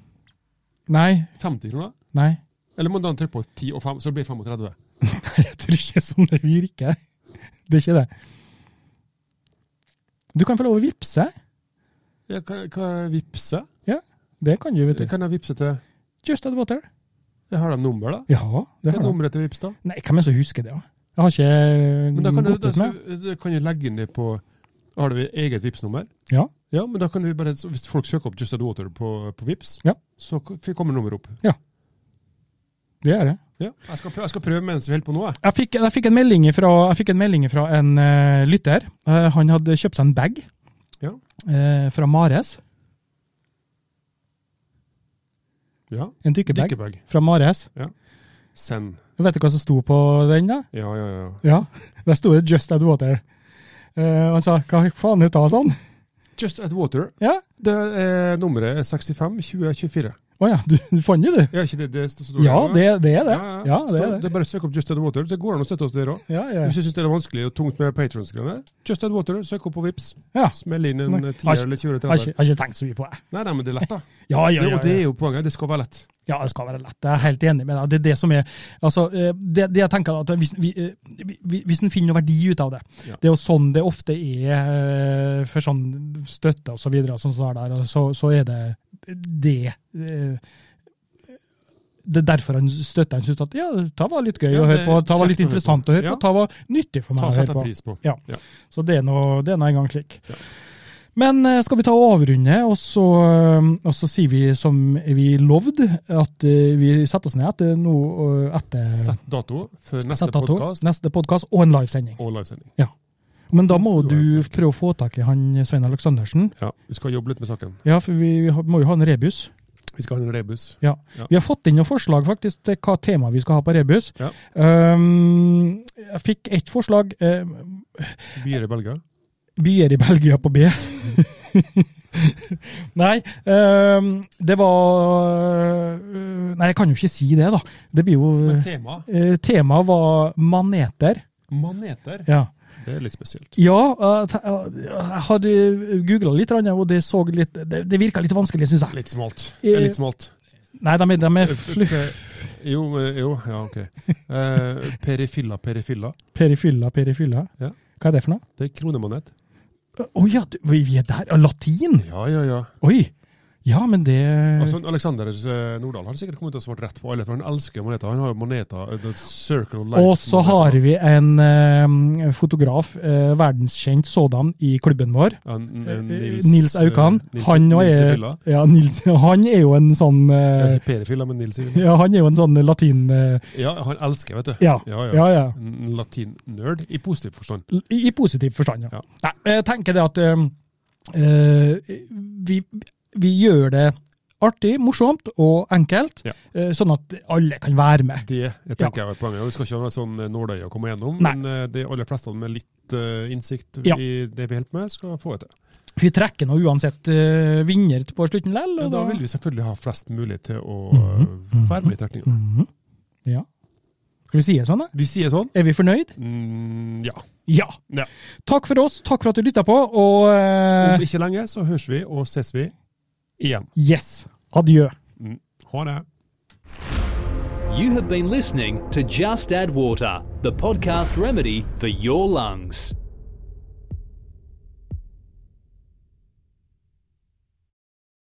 Speaker 1: Nei,
Speaker 2: 50 kroner?
Speaker 1: nei.
Speaker 2: Eller må han trykke på 10 og 5, så det blir 35?
Speaker 1: Jeg tror ikke sånn det virker. Det er ikke det. Du kan få lov å vippse.
Speaker 2: Ja, kan, kan jeg vippse?
Speaker 1: Det kan du, vet du.
Speaker 2: Kan jeg vippse til
Speaker 1: Just Add Water.
Speaker 2: Jeg har de nummer, da.
Speaker 1: Ja, det
Speaker 2: Hva er
Speaker 1: har du.
Speaker 2: nummeret til Vipps, da?
Speaker 1: Nei, hvem er det som husker det? da? Jeg har
Speaker 2: Men
Speaker 1: ikke
Speaker 2: da
Speaker 1: eh,
Speaker 2: kan, du,
Speaker 1: gått
Speaker 2: da,
Speaker 1: ut med
Speaker 2: skal- da kan jeg legge inn det på Har du eget Vipps-nummer?
Speaker 1: Ja.
Speaker 2: Ja, men da kan du bare, så Hvis folk søker opp Just Add Water på, på Vipps,
Speaker 1: Ja.
Speaker 2: så k- f- kommer nummeret opp.
Speaker 1: Det er det.
Speaker 2: Ja, jeg skal, prøve, jeg skal prøve mens vi holder på nå. Jeg.
Speaker 1: Jeg fikk, jeg fikk en melding fra, jeg fikk en, melding fra en eh, lytter. Eh, han hadde kjøpt seg en bag
Speaker 2: Ja.
Speaker 1: eh, fra Mares.
Speaker 2: Ja.
Speaker 1: En dykkerbag
Speaker 2: Dykkebag.
Speaker 1: fra Mares.
Speaker 2: Send.
Speaker 1: Vet du hva som sto på den, da?
Speaker 2: Ja, ja, ja.
Speaker 1: Ja, [laughs] Der sto det 'Just Add Water'. Eh, han sa 'hva faen heter det?' sånn.
Speaker 2: Just Add Water.
Speaker 1: Ja,
Speaker 2: Det er nummeret er 65 2024.
Speaker 1: Å ja, du, du fant det, du.
Speaker 2: Ja, ikke det, det står står
Speaker 1: Ja,
Speaker 2: der,
Speaker 1: det, det er det.
Speaker 2: Ja, ja.
Speaker 1: Ja, det
Speaker 2: Så
Speaker 1: er det.
Speaker 2: er bare å søke opp Just Add Water, så går det an å støtte oss der òg.
Speaker 1: Ja, ja.
Speaker 2: Hvis du syns det er vanskelig og tungt med patrons-greiene, Just Add Water, søk opp på Vips.
Speaker 1: Ja.
Speaker 2: Smell inn en
Speaker 1: Nei.
Speaker 2: 10 eller 20 eller
Speaker 1: Jeg har ikke, jeg
Speaker 2: 30.
Speaker 1: har ikke tenkt så mye på det.
Speaker 2: Nei, nei, men det er lett, da.
Speaker 1: [laughs] Ja, ja,
Speaker 2: Det,
Speaker 1: ja,
Speaker 2: og det er
Speaker 1: ja.
Speaker 2: jo poenget. Det skal være lett.
Speaker 1: ja, det skal være lett. Jeg er helt enig med deg. Det er det som er altså, eh, det, det jeg tenker at hvis, vi, eh, vi- hvis en finner noe verdi ut av det
Speaker 2: Ja.
Speaker 1: Det er jo sånn det ofte er eh, for sånn støtte og så videre, og sånn som det er der, og så, så er det det eh, det er derfor han støtter. Han syns at ja, det var litt gøy
Speaker 2: Ja,
Speaker 1: å høre
Speaker 2: det er
Speaker 1: på, det var litt
Speaker 2: kjekt å høre
Speaker 1: interessant å
Speaker 2: på.
Speaker 1: høre på,
Speaker 2: Ja.
Speaker 1: det var nyttig for meg
Speaker 2: Ta
Speaker 1: å
Speaker 2: Sett
Speaker 1: høre
Speaker 2: en
Speaker 1: på.
Speaker 2: pris på.
Speaker 1: Ja.
Speaker 2: Ja.
Speaker 1: Så det er nå det er nå engang slik.
Speaker 2: Ja.
Speaker 1: Men eh, skal vi ta og avrunde, og så, eh, og så sier vi som vi lovde, at eh, vi setter oss ned etter, noe, eh, etter
Speaker 2: Sett dato for neste
Speaker 1: sett dato,
Speaker 2: podkast
Speaker 1: neste podkast og en livesending.
Speaker 2: og livesending.
Speaker 1: Men da må
Speaker 2: Det var
Speaker 1: du
Speaker 2: jo flink.
Speaker 1: prøve å få tak i han Svein Aleksandersen.
Speaker 2: Ja, vi skal jobbe litt med saken.
Speaker 1: Ja, for vi har- må jo ha en rebus.
Speaker 2: Vi skal ha en rebus.
Speaker 1: Ja.
Speaker 2: Ja.
Speaker 1: Vi har fått inn noen forslag faktisk til hva tema vi skal ha på rebus.
Speaker 2: Ja.
Speaker 1: Um, jeg fikk ett forslag. eh,
Speaker 2: Byer i Belgia.
Speaker 1: Byer i Belgia på B. [laughs] Nei, øhm, det var øh, Nei, jeg kan jo ikke si det, da. Det blir jo
Speaker 2: Men tema
Speaker 1: eh, Temaet var maneter.
Speaker 2: maneter,
Speaker 1: Ja,
Speaker 2: det er litt spesielt.
Speaker 1: ja eh, te- eh, jeg hadde googla litt, grann, og det, så litt, det, det virka litt vanskelig, syns jeg.
Speaker 2: Litt smalt.
Speaker 1: Eh,
Speaker 2: Det er litt
Speaker 1: [laughs]
Speaker 2: smalt.
Speaker 1: Nei, de, er- de er fluff...
Speaker 2: Jo, eh, jo, ja, ok. Eh, perifilla, perifilla.
Speaker 1: Perifylla, perifylla.
Speaker 2: Ja.
Speaker 1: Hva er det for noe?
Speaker 2: Det er kronemonet.
Speaker 1: Å ja, du, vi vi er der. Ja, Latin!
Speaker 2: Ja, ja, ja.
Speaker 1: Oi! Ja, men det
Speaker 2: Altså, Alexander eh, Nordahl har sikkert kommet til å svare rett på alle, for han elsker moneter. Han har jo moneter eh, The Circle of Life.
Speaker 1: Og så har
Speaker 2: altså.
Speaker 1: vi en eh, fotograf, eh, verdenskjent sådan, i klubben vår. eh, Nils, Aukan. han, nå
Speaker 2: eh, Nils i
Speaker 1: er,
Speaker 2: fylla.
Speaker 1: ja, Nils, [laughs] han er jo en sånn
Speaker 2: Ja,
Speaker 1: eh,
Speaker 2: Ikke Per i fylla, men Nils
Speaker 1: [laughs]
Speaker 2: i fylla.
Speaker 1: ja, Han er jo en sånn latin... eh,
Speaker 2: Ja, han elsker, vet du.
Speaker 1: ja,
Speaker 2: ja.
Speaker 1: ja, ja.
Speaker 2: En Latin-nerd i positiv forstand.
Speaker 1: I, i positiv forstand, ja.
Speaker 2: Ja.
Speaker 1: Nei, jeg tenker det at øhm, øh, vi, vi gjør det artig, morsomt og enkelt,
Speaker 2: Ja.
Speaker 1: øh, sånn at alle kan være med.
Speaker 2: Det jeg tenker jeg er poenget. og Vi skal ikke ha noe sånn eh, nåløye å komme gjennom,
Speaker 1: Nei.
Speaker 2: men eh, de aller fleste med litt eh, innsikt
Speaker 1: Ja.
Speaker 2: i det vi holder på med, skal få det til.
Speaker 1: Vi trekker nå uansett øh, vinner på slutten lell,
Speaker 2: Ja,
Speaker 1: og
Speaker 2: da
Speaker 1: da
Speaker 2: vil vi selvfølgelig ha flest mulig til å
Speaker 1: Mhm.
Speaker 2: eh, være med i trekninga.
Speaker 1: Mhm. Ja. Skal vi si det sånn, da?
Speaker 2: Vi sier sånn.
Speaker 1: Er vi fornøyd?
Speaker 2: Mm, ja.
Speaker 1: Ja.
Speaker 2: Ja.
Speaker 1: Takk for oss, takk for at du lytta på, og øh,
Speaker 2: Om ikke lenge så høres vi og ses vi igjen.
Speaker 1: yes, adjø.
Speaker 2: Mm. Ha det.
Speaker 3: You have been listening to Just Add Water, the podcast remedy for your lungs.